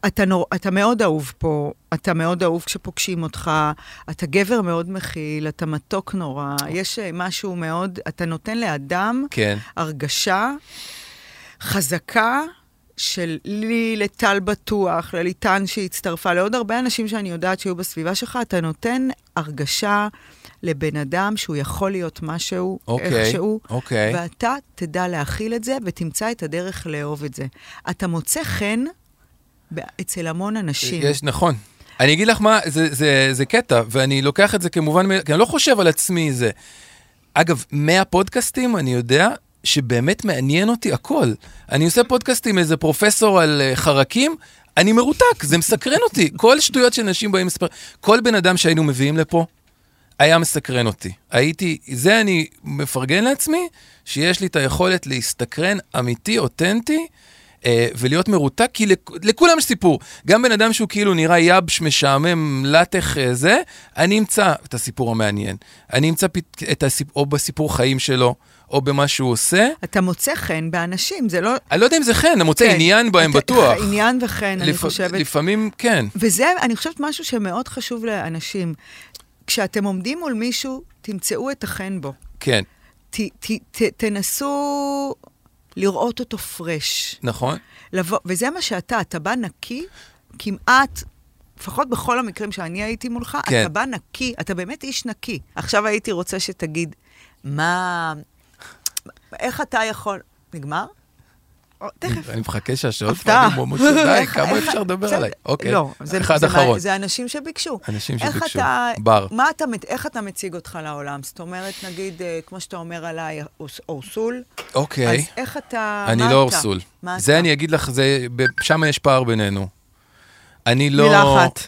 S2: אתה, נור... אתה מאוד אהוב פה, אתה מאוד אהוב כשפוגשים אותך, אתה גבר מאוד מכיל, אתה מתוק נורא, יש אה, משהו מאוד, אתה נותן לאדם
S1: כן.
S2: הרגשה חזקה של לי, לטל בטוח, לליטן שהצטרפה, לעוד הרבה אנשים שאני יודעת שהיו בסביבה שלך, אתה נותן הרגשה לבן אדם שהוא יכול להיות משהו,
S1: אוקיי,
S2: איכשהו,
S1: אוקיי.
S2: ואתה תדע להכיל את זה ותמצא את הדרך לאהוב את זה. אתה מוצא חן ב- אצל המון אנשים.
S1: יש, נכון. אני אגיד לך מה, זה, זה, זה קטע, ואני לוקח את זה כמובן, מאליו, כי אני לא חושב על עצמי זה. אגב, מהפודקאסטים אני יודע שבאמת מעניין אותי הכל. אני עושה פודקאסטים עם איזה פרופסור על אה, חרקים, אני מרותק, זה מסקרן אותי. <laughs> כל שטויות שנשים באים לספר, כל בן אדם שהיינו מביאים לפה, היה מסקרן אותי. הייתי, זה אני מפרגן לעצמי, שיש לי את היכולת להסתקרן אמיתי, אותנטי, אה, ולהיות מרותק, כי לכ- לכולם יש סיפור. גם בן אדם שהוא כאילו נראה יבש, משעמם, לטח אה, זה, אני אמצא את הסיפור המעניין. אני אמצא פת- את הסיפ... או בסיפור חיים שלו, או במה שהוא עושה.
S2: אתה מוצא חן באנשים, זה לא...
S1: אני לא יודע אם זה חן, אני מוצא
S2: כן.
S1: עניין בהם
S2: אתה-
S1: בטוח.
S2: עניין וחן, אני
S1: לפ-
S2: חושבת.
S1: לפעמים כן.
S2: וזה, אני חושבת, משהו שמאוד חשוב לאנשים. כשאתם עומדים מול מישהו, תמצאו את החן בו.
S1: כן,
S2: ת, ת, ת, תנסו לראות אותו פרש.
S1: נכון.
S2: לבוא, וזה מה שאתה, אתה בא נקי, כמעט, לפחות בכל המקרים שאני הייתי מולך,
S1: כן.
S2: אתה בא נקי, אתה באמת איש נקי. עכשיו הייתי רוצה שתגיד, מה, איך אתה יכול... נגמר?
S4: או, תכף.
S1: אני מחכה שהשעות
S2: הפתעה.
S1: כבר נגמרו,
S2: <laughs>
S1: די, כמה
S2: איך-
S1: אפשר לדבר
S2: בסדר.
S1: עליי? אוקיי,
S2: לא, זה,
S1: אחד
S2: זה,
S1: אחרון.
S2: מה, זה אנשים שביקשו.
S1: אנשים
S2: איך
S1: שביקשו.
S2: אתה,
S1: בר.
S2: מה אתה, מת- איך אתה מציג אותך לעולם? זאת אומרת, נגיד, אה, כמו שאתה אומר עליי, אורס- אורסול, אז
S1: אוקיי,
S2: איך אתה,
S1: אני
S2: מה
S1: לא
S2: אתה?
S1: אורסול.
S2: מה
S1: זה
S2: אתה?
S1: אני אגיד לך, זה- ב- שם יש פער בינינו. אני לא...
S4: מילה אחת.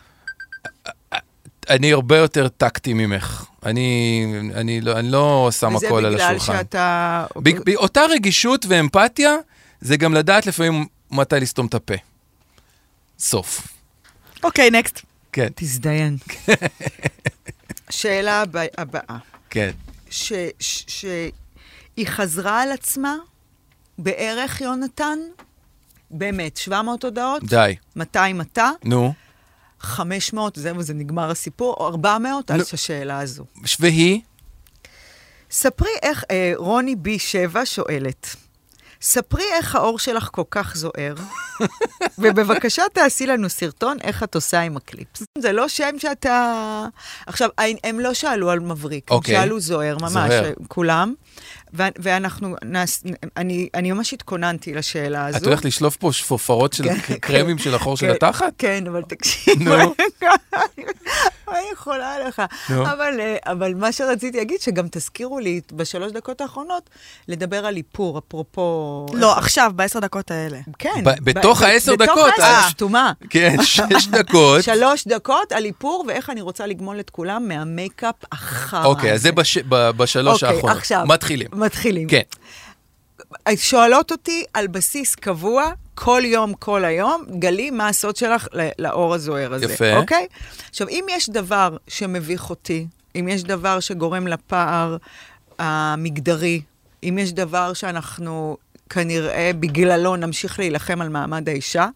S1: אני הרבה יותר טקטי ממך. אני אני לא- אני לא שם הכל על
S2: וזה בגלל
S1: השולחן.
S2: שאתה... אוקיי.
S1: ב- ב- אותה רגישות ואמפתיה, זה גם לדעת לפעמים מתי לסתום את הפה. סוף.
S4: אוקיי, נקסט.
S1: כן, <laughs>
S2: תזדיין. שאלה הבא- הבאה,
S1: כן.
S2: ש- ש- שהיא חזרה על עצמה בערך, יונתן, באמת, 700 הודעות,
S1: די.
S2: 200 אתה,
S1: נו.
S2: 500, זהו, זה נגמר הסיפור, או 400, על
S1: נו.
S2: השאלה הזו.
S1: והיא?
S2: ספרי איך, אה, רוני בי שבע שואלת, ספרי איך האור שלך כל
S1: <laughs>
S2: כך זוהר, ובבקשה תעשי לנו סרטון איך את עושה עם הקליפס. זה לא שם שאתה... עכשיו, הם- הם לא שאלו על מבריק, הם
S1: אוקיי.
S2: שאלו זוהר ממש,
S1: זוהר.
S2: אה, כולם. ו- ואנחנו, נס, אני, אני ממש התכוננתי לשאלה הזו.
S1: את הולכת לשלוף פה שפופרות של
S2: כן,
S1: קרמים
S2: כן.
S1: של החור של
S2: כן,
S1: התחת?
S2: כן, אבל תקשיב.
S1: נו.
S2: <laughs> מה אני יכולה לך?
S1: נו.
S2: אבל, אה, אבל מה שרציתי להגיד, שגם תזכירו לי בשלוש דקות האחרונות, לדבר על איפור, אפרופו...
S4: לא, עכשיו, בעשר דקות האלה.
S2: כן.
S1: ב- בתוך העשר
S2: בתוך
S1: דקות,
S2: העשר,
S1: אה.
S2: שטומה.
S1: כן, שש
S2: <laughs>
S1: דקות.
S2: שלוש דקות על איפור, ואיך אני רוצה לגמול את כולם מהמייקאפ אחר.
S1: אוקיי, אז זה בש- ב- בשלוש
S2: אוקיי,
S1: האחרונות.
S2: עכשיו.
S1: מתחילים.
S2: מתחילים.
S1: כן.
S2: שואלות אותי על בסיס קבוע, כל יום, כל היום, גלי, מה הסוד שלך ל- לאור הזוהר הזה.
S1: יפה.
S2: אוקיי? עכשיו, אם יש דבר שמביך אותי, אם יש דבר שגורם לפער המגדרי, אם יש דבר שאנחנו כנראה בגללו נמשיך להילחם על מעמד האישה,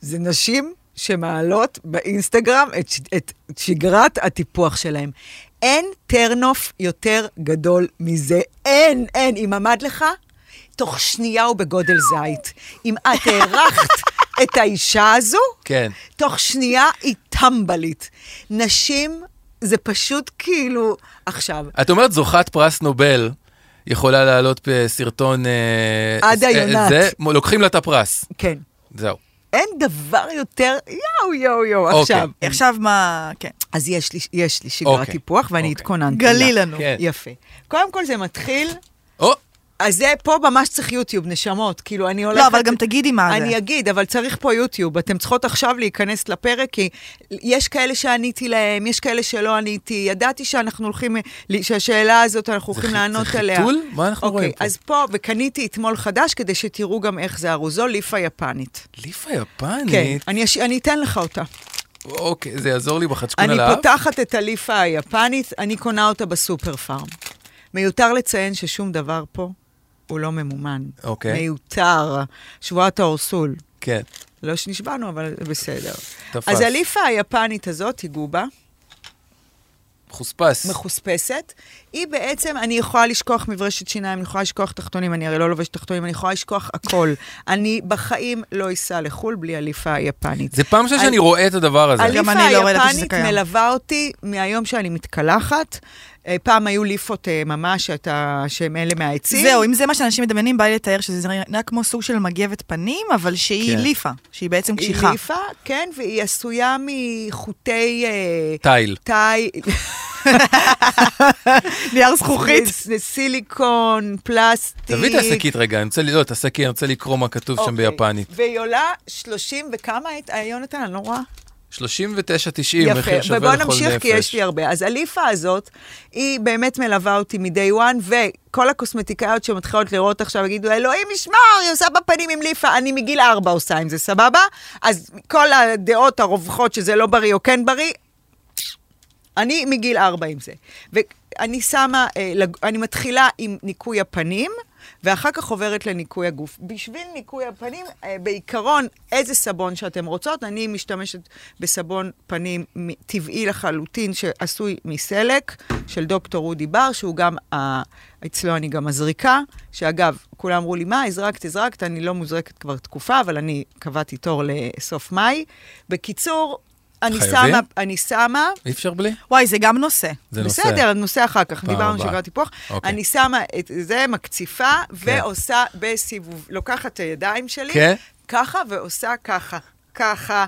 S2: זה נשים שמעלות באינסטגרם את, ש- את שגרת הטיפוח שלהם. אין טרנוף יותר גדול מזה. אין, אין. אם עמד לך, תוך שנייה הוא בגודל זית. אם את הארכת את האישה הזו,
S1: כן.
S2: תוך שנייה היא טמבלית. נשים, זה פשוט כאילו... עכשיו,
S1: את אומרת, זוכת פרס נובל יכולה להעלות בסרטון... אה,
S2: עדה
S1: אה,
S2: יונת.
S1: זה, מ- לוקחים לה את הפרס.
S2: כן,
S1: זהו.
S2: אין דבר יותר... יואו, יואו, יואו,
S1: אוקיי.
S2: עכשיו.
S4: עכשיו מה... כן.
S2: אז יש לי, יש לי שגרת
S1: אוקיי,
S2: טיפוח, ואני
S1: אוקיי.
S2: התכוננתי לה.
S4: גלי לנו.
S1: כן.
S2: יפה. קודם כל זה מתחיל,
S1: או,
S2: אז זה פה ממש צריך יוטיוב, נשמות. כאילו, אני הולכת...
S4: לא, אבל גם תגידי מה זה.
S2: אני אגיד, אבל צריך פה יוטיוב. אתם צריכות עכשיו להיכנס לפרק, כי יש כאלה שעניתי להם, יש כאלה שלא עניתי. ידעתי שאנחנו הולכים, שהשאלה הזאת, אנחנו הולכים
S1: חי-
S2: לענות
S1: זה
S2: עליה.
S1: חיתול? מה אנחנו רואים פה?
S2: אוקיי, אז פה, וקניתי אתמול חדש, כדי שתראו גם איך זה ארוזו, ליפה יפנית.
S1: ליפה
S2: כן,
S1: יפנית.
S2: אני אש- אני אתן לך אותה.
S1: אוקיי, זה יעזור לי בחדשקון
S2: אני
S1: על האף.
S2: פותחת את הליפה היפנית, אני קונה אותה בסופר פארם. מיותר לציין ששום דבר פה הוא לא ממומן.
S1: אוקיי.
S2: מיותר. שבועת האורסול.
S1: כן.
S2: לא שנשבענו, אבל זה בסדר.
S1: תפס.
S2: אז הליפה היפנית הזאת, היא גובה,
S1: מחוספס.
S2: מחוספסת. היא בעצם, אני יכולה לשכוח מברשת שיניים, אני יכולה לשכוח תחתונים, אני הרי לא לובשת תחתונים, אני יכולה לשכוח הכל. אני בחיים לא אסע לחו"ל בלי הליפה היפנית.
S1: זה פעם ראשונה שאני רואה את הדבר הזה.
S4: על- גם
S2: הליפה
S4: אני לא ידעתי שזה
S2: היפנית
S4: קיים.
S2: מלווה אותי מהיום שאני מתקלחת, אה, פעם היו ליפות אה, ממש, שאתה, שהם אלה מהעצים.
S4: זהו, אם זה מה שאנשים מדמיינים, בא לי לתאר שזה נראה כמו סוג של מגבת פנים, אבל שהיא
S1: כן.
S4: ליפה, שהיא בעצם
S2: היא
S4: קשיחה.
S2: ליפה, כן, והיא עשויה מחוטי... אה,
S1: טייל.
S2: תאי,
S4: נייר זכוכית.
S2: ס- סיליקון, פלסטיק.
S1: תביא את השקית רגע, אני רוצה, ל- לא, את השקית, אני רוצה לקרוא מה כתוב שם
S2: אוקיי.
S1: ביפנית.
S2: והיא עולה 30 וכמה היית, אה, יונתן, אני לא רואה.
S1: 39.90, מחיר
S2: יפה,
S1: שווה לכל
S2: ובואו
S1: נפש.
S2: נמשיך כי יש לי הרבה. אז הליפה הזאת, היא באמת מלווה אותי מ-day one, וכל הקוסמטיקאיות שמתחילות לראות עכשיו יגידו, אלוהים ישמור, היא עושה בפנים עם ליפה, אני מגיל ארבע עושה עם זה, סבבה? אז כל הדעות הרווחות שזה לא בריא או כן בריא, אני מגיל ארבע עם זה. ואני שמה, אה, לג- אני מתחילה עם ניקוי הפנים. ואחר כך עוברת לניקוי הגוף. בשביל ניקוי הפנים, אה, בעיקרון, איזה סבון שאתם רוצות, אני משתמשת בסבון פנים מ- טבעי לחלוטין, שעשוי מסלק, של דוקטור אודי בר, שהוא גם, ה- אצלו אני גם מזריקה, שאגב, כולם אמרו לי, מה, הזרקת, הזרקת, אני לא מוזרקת כבר תקופה, אבל אני קבעתי תור לסוף מאי. בקיצור, אני
S1: חייבים?
S2: שמה, אני שמה,
S1: אי אפשר בלי?
S4: וואי, זה גם נושא.
S1: זה נושא.
S2: בסדר, נושא אחר כך,
S1: פעם
S2: דיברנו
S1: הבאה.
S2: שגרת טיפוח.
S1: אוקיי.
S2: אני שמה את זה, מקציפה, ועושה בסיבוב, לוקחת את הידיים שלי,
S1: כן?
S2: ככה ועושה ככה, ככה,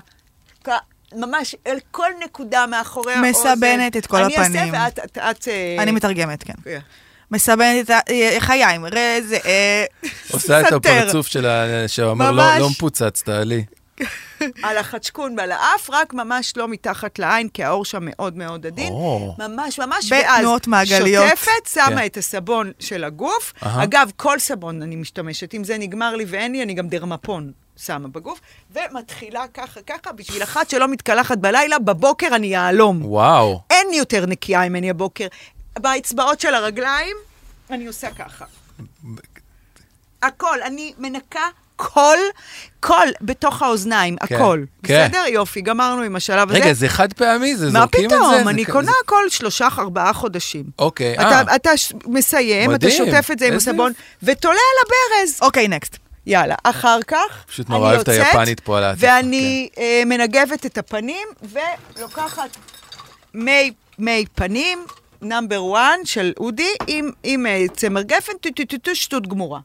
S2: כ- ממש אל כל נקודה מאחורי האוזן.
S4: מסבנת את כל
S2: אני
S4: הפנים.
S2: אעשה ואת... את- את, אה,
S4: אני מתרגמת, כן.
S2: כן.
S4: מסבנת את ה- אה, חיים, ראה זה... אה,
S1: עושה את
S4: סתר.
S1: הפרצוף שלה, שאומר, לא
S4: ממש.
S1: לא מפוצץ, תעלי.
S2: על החדשקון ועל האף, רק ממש לא מתחת לעין, כי העור שם מאוד מאוד עדין.
S1: או.
S2: ממש ממש,
S4: בתנועות מעגליות.
S2: שוטפת, שמה
S1: כן.
S2: את הסבון של הגוף.
S1: אהה.
S2: אגב, כל סבון אני משתמשת, אם זה נגמר לי ואין לי, אני גם דרמפון שמה בגוף, ומתחילה ככה ככה, בשביל אחת שלא מתקלחת בלילה, בבוקר אני יהלום.
S1: וואו.
S2: אין יותר נקייה ממני הבוקר. באצבעות של הרגליים, אני עושה ככה. הכל, אני מנקה כל, כל בתוך האוזניים,
S1: כן,
S2: הכל.
S1: כן.
S2: בסדר? יופי, גמרנו עם השלב הזה.
S1: רגע, זה חד פעמי? זה
S2: מה
S1: זורקים את זה?
S2: פתאום?
S1: זה-
S2: אני
S1: זה-
S2: קונה כל שלושה, ארבעה חודשים.
S1: אוקיי, אה.
S2: אתה, אתה ש- מסיים,
S1: מדהים,
S2: אתה שוטף את זה עם
S1: איזה
S2: הסבון, ותולה על הברז.
S4: אוקיי, נקסט.
S2: יאללה, אחר כך,
S1: פשוט
S2: אני
S1: נורא אוהב את
S2: יוצאת,
S1: היפנית פה על כן. העטיפה,
S2: ואני אה, מנגבת את הפנים, ולוקחת מי, מי פנים, נאמבר 1 של אודי, עם, עם אה, צמר גפן, טו טו טו טו שטות גמורה.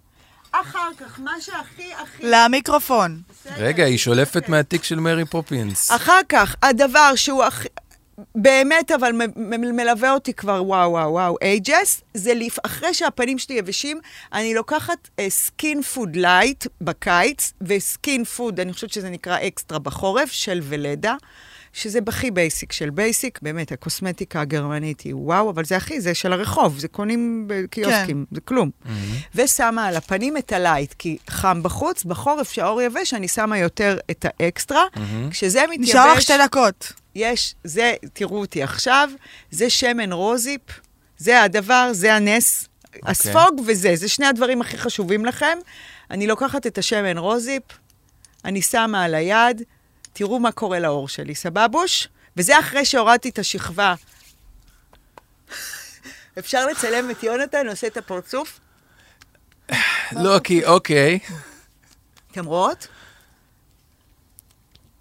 S2: אחר כך, מה שהכי הכי...
S4: לא, למיקרופון.
S1: רגע, היא שולפת מהתיק של מרי פופינס.
S2: אחר כך, הדבר שהוא הכי... באמת, אבל מ- מ- מלווה אותי כבר, וואו, וואו, וואו, אייג'ס, זה לפ... אחרי שהפנים שלי יבשים, אני לוקחת אה, סקין פוד לייט בקיץ, וסקין פוד, אני חושבת שזה נקרא אקסטרה בחורף, של ולדה, שזה בכי בייסיק של בייסיק, באמת, הקוסמטיקה הגרמנית היא וואו, אבל זה הכי, זה של הרחוב, זה קונים בקיוסקים, זה כלום. ושמה על הפנים את הלייט, כי חם בחוץ, בחורף, שהאור יבש, אני שמה יותר את האקסטרה, כשזה מתייבש...
S4: נשאר לך שתי דקות.
S2: יש, זה, תראו אותי עכשיו, זה שמן רוזיפ, זה הדבר, זה הנס. Okay. הספוג וזה, זה שני הדברים הכי חשובים לכם. אני לוקחת את השמן רוזיפ, אני שמה על היד, תראו מה קורה לאור שלי, סבבוש? וזה אחרי שהורדתי את השכבה. <laughs> אפשר לצלם את יונתן, עושה את הפרצוף?
S1: <laughs> לא, כי, אוקיי.
S2: אתם רואות?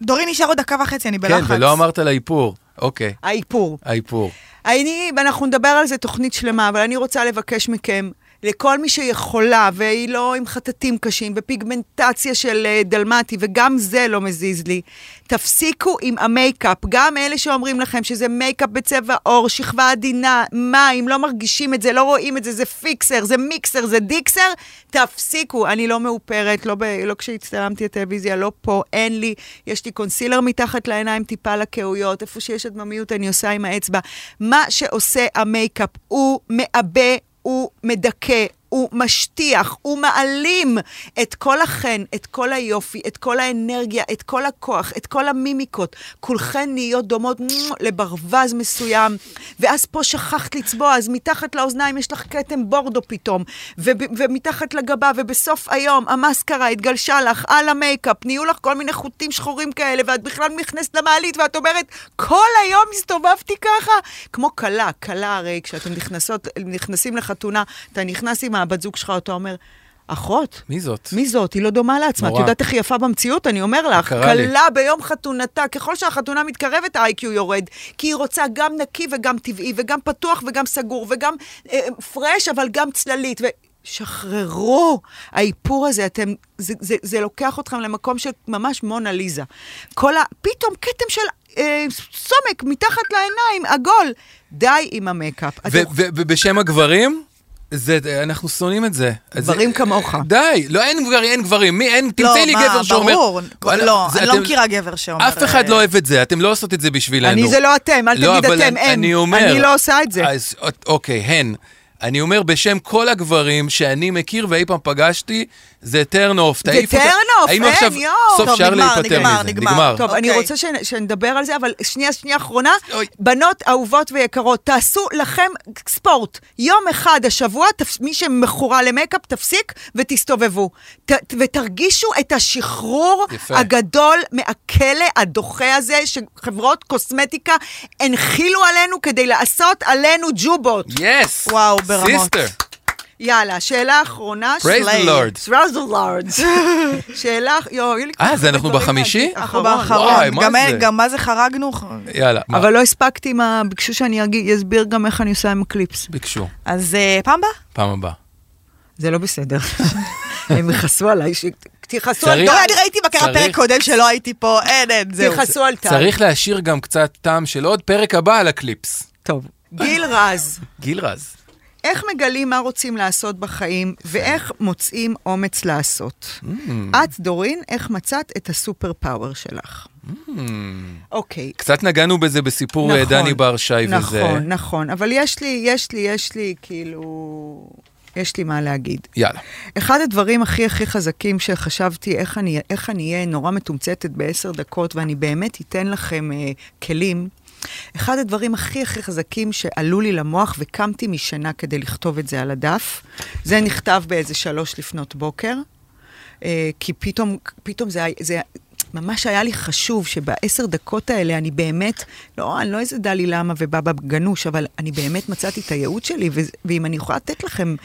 S4: דורין נשאר עוד דקה וחצי, אני
S1: כן,
S4: בלחץ.
S1: ולא אמרת על האיפור. אוקיי,
S2: האיפור.
S1: האיפור.
S2: אני, ואנחנו נדבר על זה תוכנית שלמה, אבל אני רוצה לבקש מכם, לכל מי שיכולה, והיא לא עם חטטים קשים, ופיגמנטציה של אה, דלמטי, וגם זה לא מזיז לי, תפסיקו עם המייקאפ. גם אלה שאומרים לכם שזה מייקאפ בצבע עור, שכבה עדינה, מים, לא מרגישים את זה, לא רואים את זה, זה פיקסר, זה מיקסר, זה דיקסר, תפסיקו. אני לא מאופרת, לא, ב, לא כשהצטלמתי לטלוויזיה, לא פה, אין לי, יש לי קונסילר מתחת לעיניים, טיפה לקהויות, איפה שיש הדממיות אני עושה עם האצבע. מה שעושה המייקאפ, הוא מעבה, הוא מדכא. הוא משטיח, הוא מעלים את כל החן, את כל היופי, את כל האנרגיה, את כל הכוח, את כל המימיקות. כולכן נהיות דומות מ- לברווז מסוים, ואז פה שכחת לצבוע, אז מתחת לאוזניים יש לך כתם בורדו פתאום, וב- ומתחת לגבה, ובסוף היום המאסקרה התגלשה לך על המייקאפ, נהיו לך כל מיני חוטים שחורים כאלה, ואת בכלל נכנסת למעלית, ואת אומרת, כל היום הסתובבתי ככה? כמו כלה, כלה הרי, כשאתם נכנסות, נכנסים לחתונה, אתה נכנס עם הבת זוג שלך, אתה אומר, אחות?
S1: מי זאת?
S2: מי זאת? היא לא דומה לעצמה. את
S1: נורא.
S2: יודעת איך היא יפה במציאות? אני אומר לך.
S1: קרה לי.
S2: כלה ביום חתונתה, ככל שהחתונה מתקרבת, ה-IQ יורד. כי היא רוצה גם נקי וגם טבעי, וגם פתוח וגם סגור, וגם אה, פרש, אבל גם צללית. ו... שחררו, האיפור הזה, אתם, זה, זה, זה לוקח אתכם למקום של ממש מונה ליזה. כל ה... פתאום כתם של אה, סומק מתחת לעיניים, עגול. די עם המקאפ. אתם-
S1: ובשם הגברים? זה, אנחנו שונאים את זה. אז זה-
S2: גברים כמוך.
S1: די, לא, אין גברים, אין גברים. מי, אין, תמצאי לי
S4: מה,
S1: גבר שאומר...
S4: ברור.
S1: וואלה,
S4: לא,
S1: זה-
S4: אני לא
S1: אתם-
S4: מכירה גבר שאומר...
S1: אף אחד לא אוהב את זה, אתם לא עושות את זה בשבילנו.
S2: אני זה לא אתם, אל תגיד
S1: אבל
S2: אתם,
S1: אני-
S2: הם.
S1: אני אומר...
S2: אני לא עושה את זה.
S1: אז א- אוקיי, הן. אני אומר בשם כל הגברים שאני מכיר ואי פעם פגשתי, זה turn off. תעיף אותה-
S2: turn off,
S1: האם
S2: אין,
S1: עכשיו-
S2: יואו.
S1: סוף
S4: טוב,
S1: אפשר
S4: נגמר,
S1: להיפטר
S4: נגמר,
S1: מזה,
S4: נגמר.
S1: נגמר.
S2: טוב, okay. אני
S4: אוקיי.
S2: רוצה שנ, שנדבר על זה, אבל שנייה, שנייה אחרונה.
S1: אוי.
S2: בנות אהובות ויקרות, תעשו לכם ספורט. יום אחד השבוע, תפ... מי שמכורה למייקאפ, תפסיק ותסתובבו. ת... ותרגישו את השחרור
S1: יפה.
S2: הגדול מהכלא הדוחה הזה, שחברות קוסמטיקה הנחילו עלינו כדי לעשות עלינו ג'ובות.
S1: יס!
S4: וואו, ברמות.
S1: סיסטר.
S2: יאללה, שאלה אחרונה.
S1: Praise the Lord.
S2: Praise the Lord. <laughs> שאלה... יואו, יהיה לי
S1: אה,
S2: כל
S1: זה
S2: כך
S1: אנחנו
S2: דברים
S1: בחמישי?
S2: להגיד.
S4: אנחנו
S2: אחרון.
S4: באחרון.
S1: וואי, מה
S4: גם-
S1: זה?
S4: גם מה זה חרגנו?
S1: יאללה, מה?
S2: אבל לא הספקתי עם ה... ביקשו שאני אגיד- אסביר גם איך אני עושה עם הקליפס.
S1: ביקשו,
S4: אז אה, פעם הבאה.
S1: פעם הבאה.
S2: זה לא בסדר. <laughs> הם יכעסו עליי, ש- תכעסו על
S1: צריך-
S4: לא,
S2: טל.
S4: אני ראיתי בקרה
S1: צריך-
S4: פרק קודם שלא הייתי פה, אין, אין, זהו.
S2: תכעסו לא על טל.
S1: צריך להשאיר גם קצת טעם של עוד פרק הבא על הקליפס.
S2: טוב. גיל רז,
S1: גיל רז.
S2: איך מגלים מה רוצים לעשות בחיים, ואיך מוצאים אומץ לעשות?
S1: Mm.
S2: את, דורין, איך מצאת את הסופר פאוור שלך? אוקיי,
S1: קצת נגענו בזה בסיפור Mm. אה, דני בר שי
S2: נכון,
S1: וזה.
S2: נכון, נכון, אבל יש לי, יש לי, יש לי, כאילו, יש לי מה להגיד.
S1: יאללה.
S2: אחד הדברים הכי הכי חזקים שחשבתי, איך אני, איך אני אהיה נורא מתומצתת בעשר דקות, ואני באמת אתן לכם אה, כלים. אחד הדברים הכי הכי חזקים שעלו לי למוח, וקמתי משינה כדי לכתוב את זה על הדף, זה נכתב באיזה שלוש לפנות בוקר, אה, כי פתאום, פתאום זה, היה- זה ממש היה לי חשוב שבעשר דקות האלה אני באמת, לא, אני לא איזה דלי למה ובבא גנוש, אבל אני באמת מצאתי את הייעוד שלי, וזה- ואם אני יכולה לתת לכם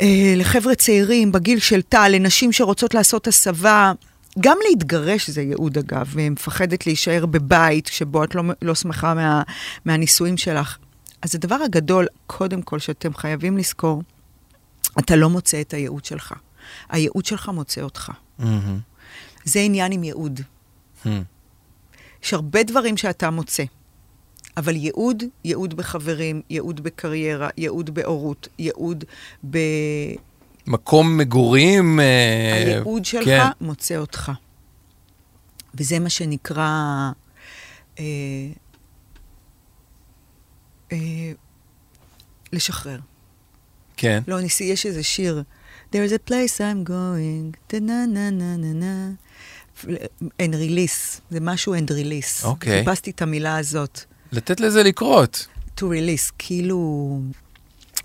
S2: אה, לחבר'ה צעירים בגיל של טל, לנשים שרוצות לעשות הסבה. גם להתגרש זה ייעוד אגב, ומפחדת להישאר בבית שבו את לא, לא שמחה מה, מהנישואים שלך. אז הדבר הגדול, קודם כל, שאתם חייבים לזכור, אתה לא מוצא את הייעוד שלך. הייעוד שלך מוצא אותך.
S1: מהמם.
S2: זה עניין עם ייעוד.
S1: מהמם.
S2: יש הרבה דברים שאתה מוצא. אבל ייעוד, ייעוד בחברים, ייעוד בקריירה, ייעוד בהורות, ייעוד ב...
S1: מקום מגורים... אה,
S2: הייעוד שלך
S1: כן.
S2: מוצא אותך. וזה מה שנקרא... אה, אה, לשחרר.
S1: כן.
S2: לא, ניסי, יש איזה שיר. There's a place I'm going, טה-נה נה נה נה נה. And release, זה משהו and release.
S1: אוקיי.
S2: חיפשתי את המילה הזאת.
S1: לתת לזה לקרות.
S2: to release, כאילו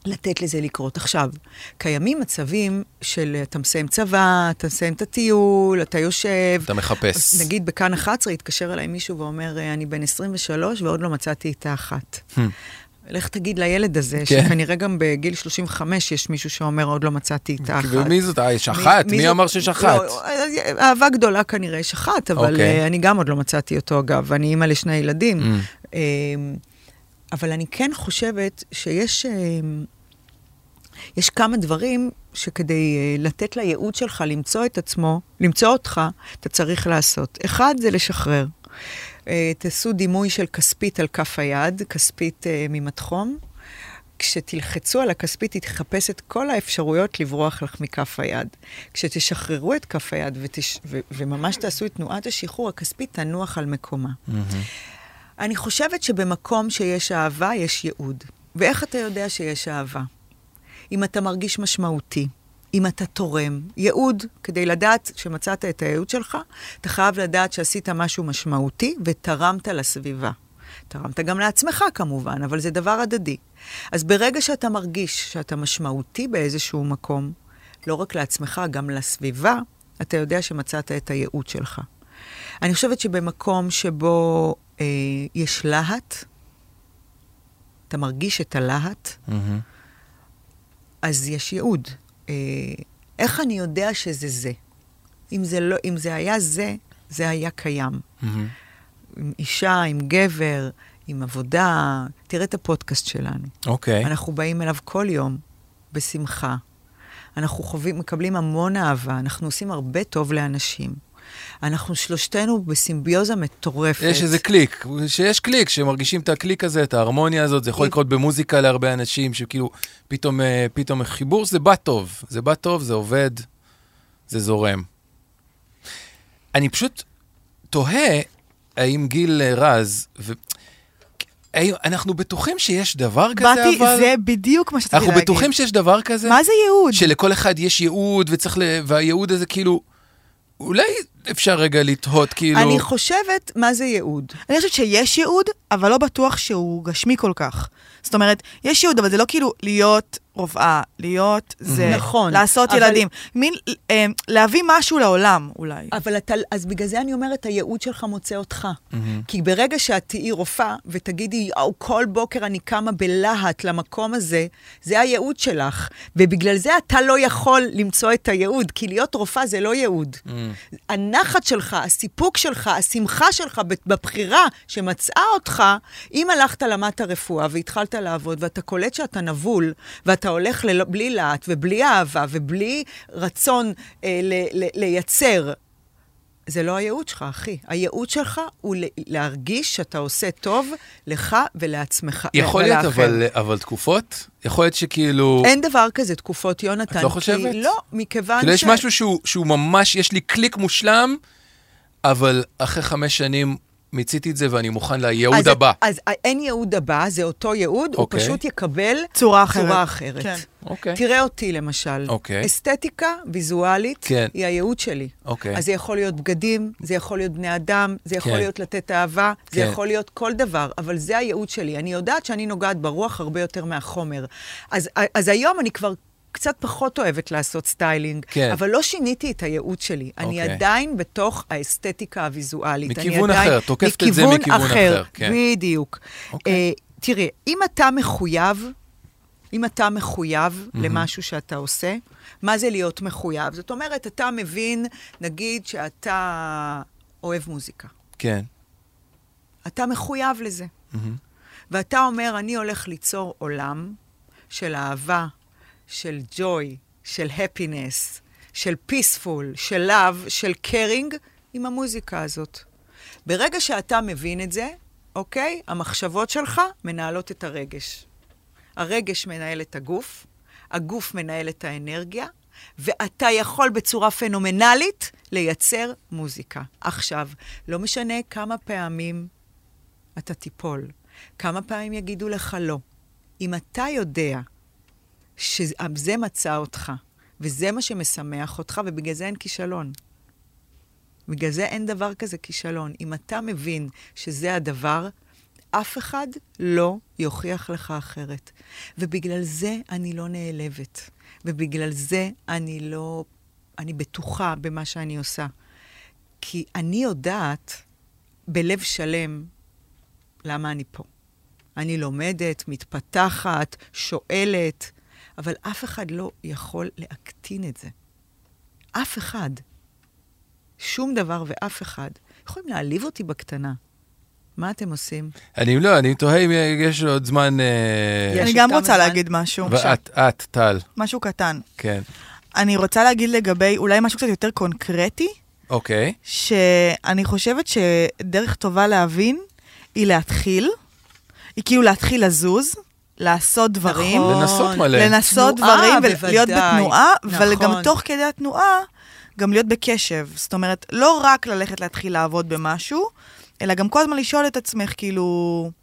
S2: לתת לזה לקרות. עכשיו, קיימים מצבים של אתה מסיים צבא, אתה מסיים את הטיול, אתה יושב.
S1: אתה מחפש.
S2: אז נגיד בכאן 11 התקשר אליי מישהו ואומר, "אה, אני בן 23 ועוד לא מצאתי את האחת.
S1: Hmm.
S2: לך תגיד לילד הזה,
S1: כן.
S2: שכנראה גם בגיל 35 יש מישהו שאומר, עוד לא מצאתי את האחת.
S1: ומי זאת? אה, יש אחת? מי
S2: זאת-
S1: אמר שיש אחת?
S2: לא, אהבה גדולה כנראה יש אחת, אבל
S1: אוקיי.
S2: אה, אני גם עוד לא מצאתי אותו, אגב, ואני אימא לשני ילדים.
S1: Mm.
S2: אה, אבל אני כן חושבת שיש אה, יש כמה דברים שכדי אה, לתת לייעוד שלך למצוא את עצמו, למצוא אותך, אתה צריך לעשות. אחד זה לשחרר. אה, תעשו דימוי של כספית על כף היד, כספית אה, ממדחום. כשתלחצו על הכספית, היא תחפש את כל האפשרויות לברוח לך מכף היד. כשתשחררו את כף היד ותש... ו- וממש תעשו את תנועת השחרור, הכספית תנוח על מקומה. אני חושבת שבמקום שיש אהבה, יש ייעוד. ואיך אתה יודע שיש אהבה? אם אתה מרגיש משמעותי, אם אתה תורם. ייעוד, כדי לדעת שמצאת את הייעוד שלך, אתה חייב לדעת שעשית משהו משמעותי ותרמת לסביבה. תרמת גם לעצמך כמובן, אבל זה דבר הדדי. אז ברגע שאתה מרגיש שאתה משמעותי באיזשהו מקום, לא רק לעצמך, גם לסביבה, אתה יודע שמצאת את הייעוד שלך. אני חושבת שבמקום שבו אה, יש להט, אתה
S1: Mm-hmm,
S2: מרגיש את הלהט,
S1: מהמם.
S2: אז יש ייעוד. אה, איך אני יודע שזה זה? אם זה, לא, אם זה היה זה, זה היה קיים.
S1: מהמם.
S2: עם אישה, עם גבר, עם עבודה. תראה את הפודקאסט שלנו.
S1: אוקיי.
S2: אנחנו באים אליו כל יום, בשמחה. אנחנו חווים, מקבלים המון אהבה, אנחנו עושים הרבה טוב לאנשים. אנחנו שלושתנו בסימביוזה מטורפת.
S1: יש איזה קליק, שיש קליק, שמרגישים את הקליק הזה, את ההרמוניה הזאת, זה יכול לקרות במוזיקה להרבה אנשים, שכאילו, פתאום, אה, פתאום חיבור, זה בא טוב. זה בא טוב, זה עובד, זה זורם. אני פשוט תוהה האם גיל אה, רז, ו... האם אנחנו בטוחים שיש דבר כזה,
S4: באתי,
S1: אבל...
S4: זה בדיוק מה שצריך
S1: אנחנו
S4: להגיד.
S1: בטוחים שיש דבר כזה?
S4: מה זה ייעוד?
S1: שלכל אחד יש ייעוד, וצריך ל... והייעוד הזה כאילו... אולי אפשר רגע לתהות, כאילו...
S2: אני חושבת, מה זה ייעוד?
S4: אני חושבת שיש ייעוד, אבל לא בטוח שהוא גשמי כל כך. זאת אומרת, יש ייעוד, אבל זה לא כאילו להיות רופאה, להיות זה,
S2: נכון,
S4: לעשות
S2: אבל-
S4: ילדים. מין, אה, להביא משהו לעולם, אולי.
S2: אבל אתה, אז בגלל זה אני אומרת, הייעוד שלך מוצא אותך. כי ברגע שאת תהיי רופאה ותגידי, יואו, כל בוקר אני קמה בלהט למקום הזה, זה הייעוד שלך. ובגלל זה אתה לא יכול למצוא את הייעוד, כי להיות רופאה זה לא ייעוד. הנחת שלך, הסיפוק שלך, השמחה שלך בבחירה שמצאה אותך, אם הלכת, למדת רפואה והתחלת לעבוד, ואתה קולט שאתה נבול, ואתה הולך ללא, בלי להט ובלי אהבה ובלי רצון אה, ל, ל, לייצר, זה לא הייעוד שלך, אחי. הייעוד שלך הוא ל- להרגיש שאתה עושה טוב לך ולעצמך.
S1: יכול
S2: ו-
S1: להיות,
S2: ולאחר.
S1: אבל, אה, אבל תקופות? יכול להיות שכאילו...
S2: אין דבר כזה תקופות, יונתן.
S1: את לא חושבת?
S2: כי לא, מכיוון
S1: כאילו,
S2: ש...
S1: יש משהו שהוא, שהוא ממש, יש לי קליק מושלם, אבל אחרי חמש שנים מיציתי את זה ואני מוכן לייעוד
S2: אז-
S1: הבא.
S2: אז אין ייעוד הבא, זה אותו ייעוד, הוא
S1: אוקיי.
S2: פשוט יקבל
S4: צורה אחרת.
S2: צורה אחרת.
S4: כן.
S1: אוקיי.
S2: תראה אותי למשל.
S1: אוקיי.
S2: אסתטיקה ויזואלית
S1: כן.
S2: היא הייעוד שלי.
S1: אוקיי.
S2: אז זה יכול להיות בגדים, זה יכול להיות בני אדם, זה יכול
S1: כן.
S2: להיות לתת אהבה, זה
S1: כן.
S2: יכול להיות כל דבר, אבל זה הייעוד שלי. אני יודעת שאני נוגעת ברוח הרבה יותר מהחומר. אז, אז היום אני כבר... קצת פחות אוהבת לעשות סטיילינג,
S1: כן.
S2: אבל לא שיניתי את הייעוד שלי. אני
S1: אוקיי.
S2: עדיין בתוך האסתטיקה הוויזואלית. אני
S1: מכיוון
S2: עדיין-
S1: אחר, תוקפת את זה מכיוון אחר, כן.
S2: בדיוק.
S1: אוקיי.
S2: אה, תראה, אם אתה מחויב, אם אתה מחויב mm-hmm. למשהו שאתה עושה, מה זה להיות מחויב? זאת אומרת, אתה מבין, נגיד שאתה אוהב מוזיקה.
S1: כן.
S2: אתה מחויב לזה. Mm-hmm. ואתה אומר, אני הולך ליצור עולם של אהבה, של ג'וי, של הפינס, של פיספול, של לאב, של קרינג, עם המוזיקה הזאת. ברגע שאתה מבין את זה, אוקיי? המחשבות שלך מנהלות את הרגש. הרגש מנהל את הגוף, הגוף מנהל את האנרגיה, ואתה יכול בצורה פנומנלית לייצר מוזיקה. עכשיו, לא משנה כמה פעמים אתה תיפול, כמה פעמים יגידו לך לא. אם אתה יודע שזה מצא אותך, וזה מה שמשמח אותך, ובגלל זה אין כישלון. בגלל זה אין דבר כזה כישלון. אם אתה מבין שזה הדבר, אף אחד לא יוכיח לך אחרת. ובגלל זה אני לא נעלבת. ובגלל זה אני לא... אני בטוחה במה שאני עושה. כי אני יודעת בלב שלם למה אני פה. אני לומדת, מתפתחת, שואלת, אבל אף אחד לא יכול להקטין את זה. אף אחד. שום דבר ואף אחד. יכולים להעליב אותי בקטנה. מה אתם עושים?
S1: אני לא, אני תוהה אם יש עוד זמן... אה,
S2: יש
S4: אני
S2: עוד
S4: גם
S2: כמה
S4: רוצה
S2: זמן?
S4: להגיד משהו,
S1: ואת, את, טל,
S4: משהו קטן.
S1: כן.
S4: אני רוצה להגיד לגבי אולי משהו קצת יותר קונקרטי,
S1: אוקיי.
S4: שאני חושבת שדרך טובה להבין היא להתחיל, היא כאילו להתחיל לזוז, לעשות דברים,
S2: נכון.
S1: לנסות מלא.
S4: לנסות
S2: תנועה,
S4: דברים
S2: בוודאי.
S4: ולהיות בתנועה, אבל
S2: נכון.
S4: גם תוך כדי התנועה, גם להיות בקשב. זאת אומרת, לא רק ללכת להתחיל לעבוד במשהו, אלא גם כל הזמן לשאול את עצמך, כאילו,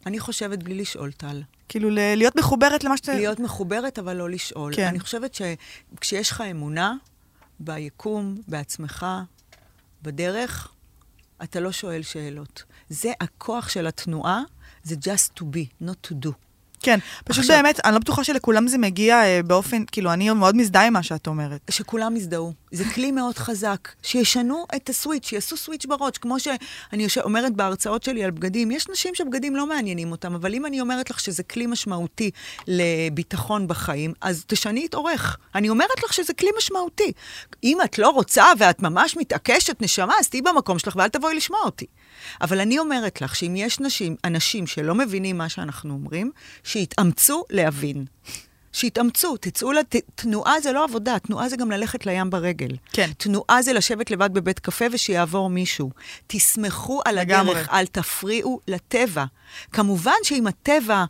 S2: אני חושבת בלי לשאול, טל.
S4: כאילו ל- להיות מחוברת למה שאתה...
S2: להיות מחוברת, אבל לא לשאול.
S4: כן.
S2: אני חושבת שכשיש לך אמונה ביקום, בעצמך, בדרך, אתה לא שואל שאלות. זה הכוח של התנועה, זה just to be, not to do.
S4: כן, פשוט
S2: עכשיו-
S4: באמת, אני לא בטוחה שלכולם זה מגיע אה, באופן, כאילו, אני מאוד מזדהה עם מה שאת אומרת.
S2: שכולם יזדהו. זה כלי מאוד חזק. שישנו את הסוויץ', שיעשו סוויץ' בראש. כמו שאני יוש- אומרת בהרצאות שלי על בגדים, יש נשים שבגדים לא מעניינים אותם, אבל אם אני אומרת לך שזה כלי משמעותי לביטחון בחיים, אז תשני את עורך. אני אומרת לך שזה כלי משמעותי. אם את לא רוצה ואת ממש מתעקשת, נשמה, אז תהיי במקום שלך ואל תבואי לשמוע אותי. אבל אני אומרת לך שאם יש נשים, אנשים שלא מבינים מה שאנחנו אומרים, שיתאמצו להבין. שיתאמצו, תצאו, לת... תנועה זה לא עבודה, תנועה זה גם ללכת לים ברגל.
S4: כן.
S2: תנועה זה לשבת לבד בבית קפה ושיעבור מישהו. תסמכו על
S4: לגמרי.
S2: הדרך, אל תפריעו לטבע. כמובן שעם הטבע, אה,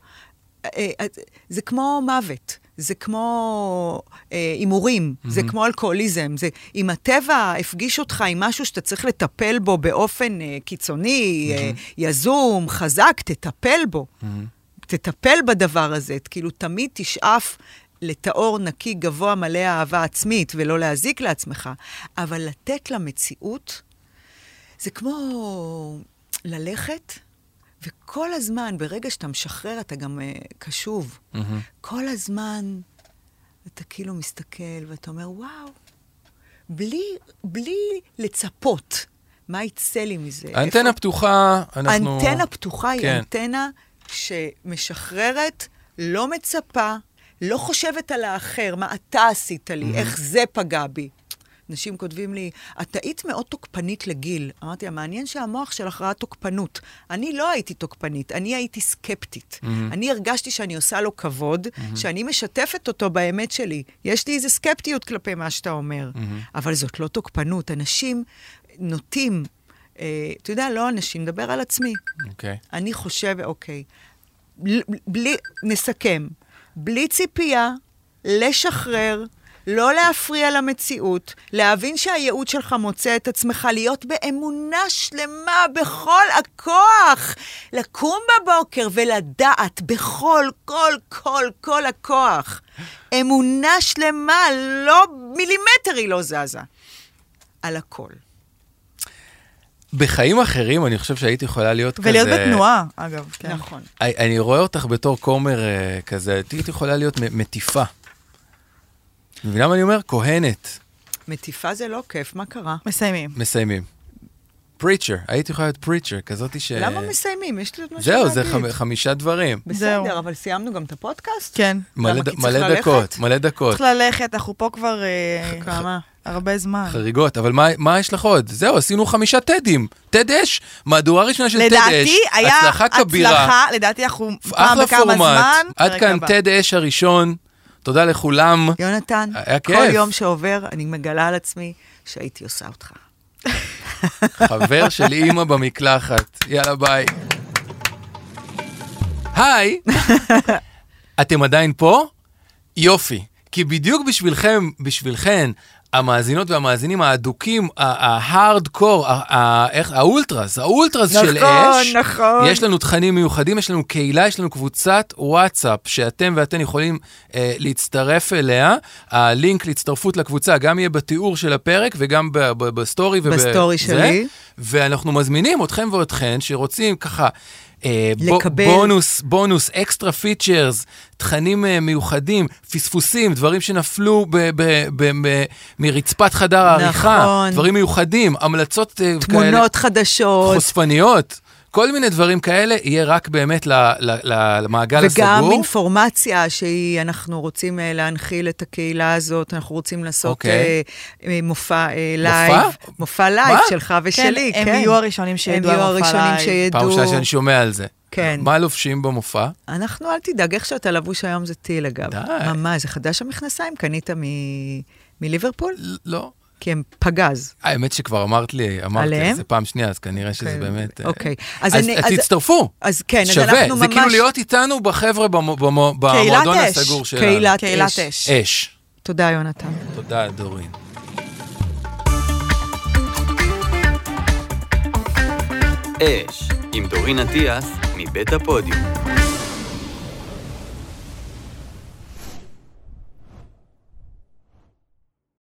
S2: אה, זה כמו מוות. זה כמו אה, הימורים, mm-hmm. זה כמו אלכוהוליזם. זה, אם הטבע הפגיש אותך עם משהו שאתה צריך לטפל בו באופן אה, קיצוני, mm-hmm. אה, יזום, חזק, תטפל בו. Mm-hmm. תטפל בדבר הזה, כאילו תמיד תשאף לטהור נקי גבוה מלא אהבה עצמית ולא להזיק לעצמך, אבל לתת למציאות, זה כמו ללכת, וכל הזמן, ברגע שאתה משחרר, אתה גם uh, קשוב. Mm-hmm. כל הזמן אתה כאילו מסתכל ואתה אומר, וואו, בלי, בלי לצפות, מה יצא לי מזה? איפה-
S1: אנטנה פתוחה, אנחנו...
S2: אנטנה פתוחה היא
S1: כן.
S2: אנטנה שמשחררת, לא מצפה, לא חושבת על האחר, מה אתה עשית לי, איך זה פגע בי. אנשים כותבים לי, את היית מאוד תוקפנית לגיל. אמרתי לה, מעניין שהמוח שלך ראה תוקפנות. אני לא הייתי תוקפנית, אני הייתי סקפטית. אני הרגשתי שאני עושה לו כבוד, שאני משתפת אותו באמת שלי. יש לי איזו סקפטיות כלפי מה שאתה אומר, אבל זאת לא תוקפנות. אנשים נוטים אה, אתה יודע, לא אנשים, נדבר על עצמי.
S1: אוקיי.
S2: אני חושב, אוקיי, ל- בלי, נסכם, בלי ציפייה, לשחרר, לא להפריע למציאות, להבין שהייעוד שלך מוצא את עצמך, להיות באמונה שלמה בכל הכוח, לקום בבוקר ולדעת בכל, כל, כל, כל הכוח. אמונה שלמה, לא מילימטר היא לא זזה. על הכל.
S1: בחיים אחרים אני חושב שהיית יכולה להיות כזה...
S4: ולהיות בתנועה, אגב. כן.
S2: נכון.
S1: אני- אני רואה אותך בתור כומר אה, כזה, את היית יכולה להיות מ- מטיפה. את מבינה מה אני אומר? כהנת.
S2: מטיפה זה לא כיף, מה קרה?
S4: מסיימים.
S1: מסיימים. פריצ'ר, היית יכולה להיות פריצ'ר, כזאת ש...
S2: למה מסיימים? יש לי עוד משהו
S1: אה, זהו,
S2: להגיד.
S1: זה חמ- חמישה דברים.
S4: זהו.
S2: בסדר, אבל סיימנו גם את הפודקאסט?
S4: כן.
S1: מלא
S2: למה?
S1: ד-
S2: כי צריך
S1: מלא
S2: ללכת?
S1: דקות, מלא דקות.
S4: צריך ללכת, אנחנו פה כבר אה,
S2: כמה?
S4: הרבה זמן.
S1: חריגות, אבל מה, מה יש לך עוד? זהו, עשינו חמישה טדים. טד אש, מהדורה ראשונה של טד אש.
S4: לדעתי היה
S1: הצלחה כבירה.
S4: הצלחה, לדעתי אנחנו פעם
S1: אחלה
S4: בכמה
S1: פורמט.
S4: זמן.
S1: עד
S4: פרק
S1: כאן
S4: הבא.
S1: טד אש הראשון. תודה לכולם.
S2: יונתן,
S1: היה
S2: כל
S1: כיף.
S2: יום שעובר אני מגלה על עצמי שהייתי עושה אותך.
S1: חבר של אימא במקלחת. יאללה, ביי. היי, אתם עדיין פה? יופי. כי בדיוק בשבילכם, בשבילכן, המאזינות והמאזינים האדוקים, ה- ההארד קור, ה- ה- איך- האולטרס, האולטרס
S2: נכון,
S1: של אש,
S2: נכון.
S1: יש לנו תכנים מיוחדים, יש לנו קהילה, יש לנו קבוצת וואטסאפ שאתם ואתן יכולים אה, להצטרף אליה. הלינק להצטרפות לקבוצה גם יהיה בתיאור של הפרק וגם ב- ב- בסטורי וב-
S2: בסטורי
S1: זה.
S2: שלי.
S1: ואנחנו מזמינים אתכם ואתכן שרוצים ככה... אה, בו-
S2: לקבל.
S1: בונוס, בונוס, אקסטרה פיצ'רס, תכנים אה, מיוחדים, פספוסים, דברים שנפלו ב- ב- ב- ב- מרצפת חדר העריכה,
S2: נכון.
S1: דברים מיוחדים, המלצות אה, כאלה,
S2: תמונות חדשות,
S1: חושפניות, כל מיני דברים כאלה, יהיה רק באמת ל- ל- ל- למעגל
S2: וגם
S1: הסגור.
S2: אינפורמציה שהיא, אנחנו רוצים אה, להנחיל את הקהילה הזאת, אנחנו רוצים לעשות אה,
S1: אוקיי.
S2: אה, מופע אה, לייב. מופע לייב
S1: מה?
S2: שלך ושלי,
S4: כן,
S2: כן.
S4: הם יהיו הראשונים
S2: הם
S4: שידעו על
S2: יהיו
S4: מופע
S2: הראשונים
S4: לייב.
S1: פעם
S2: שידעו.
S1: ראשונה שאני שומע על זה.
S2: כן.
S1: מה לובשים במופע?
S2: אנחנו, אל תדאג, איך שאתה לבוש היום זה טיל, אגב.
S1: די.
S2: ממש, זה חדש המכנסיים, קנית מ... מליברפול?
S1: ל- לא.
S2: כי הם פגז.
S1: האמת שכבר אמרת לי, אמרתי
S2: עליהם?
S1: על זה פעם שנייה, אז כנראה שזה
S2: אוקיי,
S1: באמת... אה,
S2: אוקיי.
S1: אז,
S2: אז
S1: אז,
S2: אני-
S1: אז
S2: אז-
S1: תצטרפו.
S2: אז כן, אז
S1: שווה,
S2: אנחנו
S1: זה
S2: ממש...
S1: כאילו להיות איתנו בחבר'ה במו- במו-
S4: קהילת
S1: במועדון
S4: אש.
S1: הסגור שלנו.
S2: קהילת
S4: קהילת
S2: אש.
S4: אש.
S1: אש.
S2: תודה, יונתן.
S1: תודה, דורין.
S3: אש, עם דורין אטיאס, מבית הפודיום.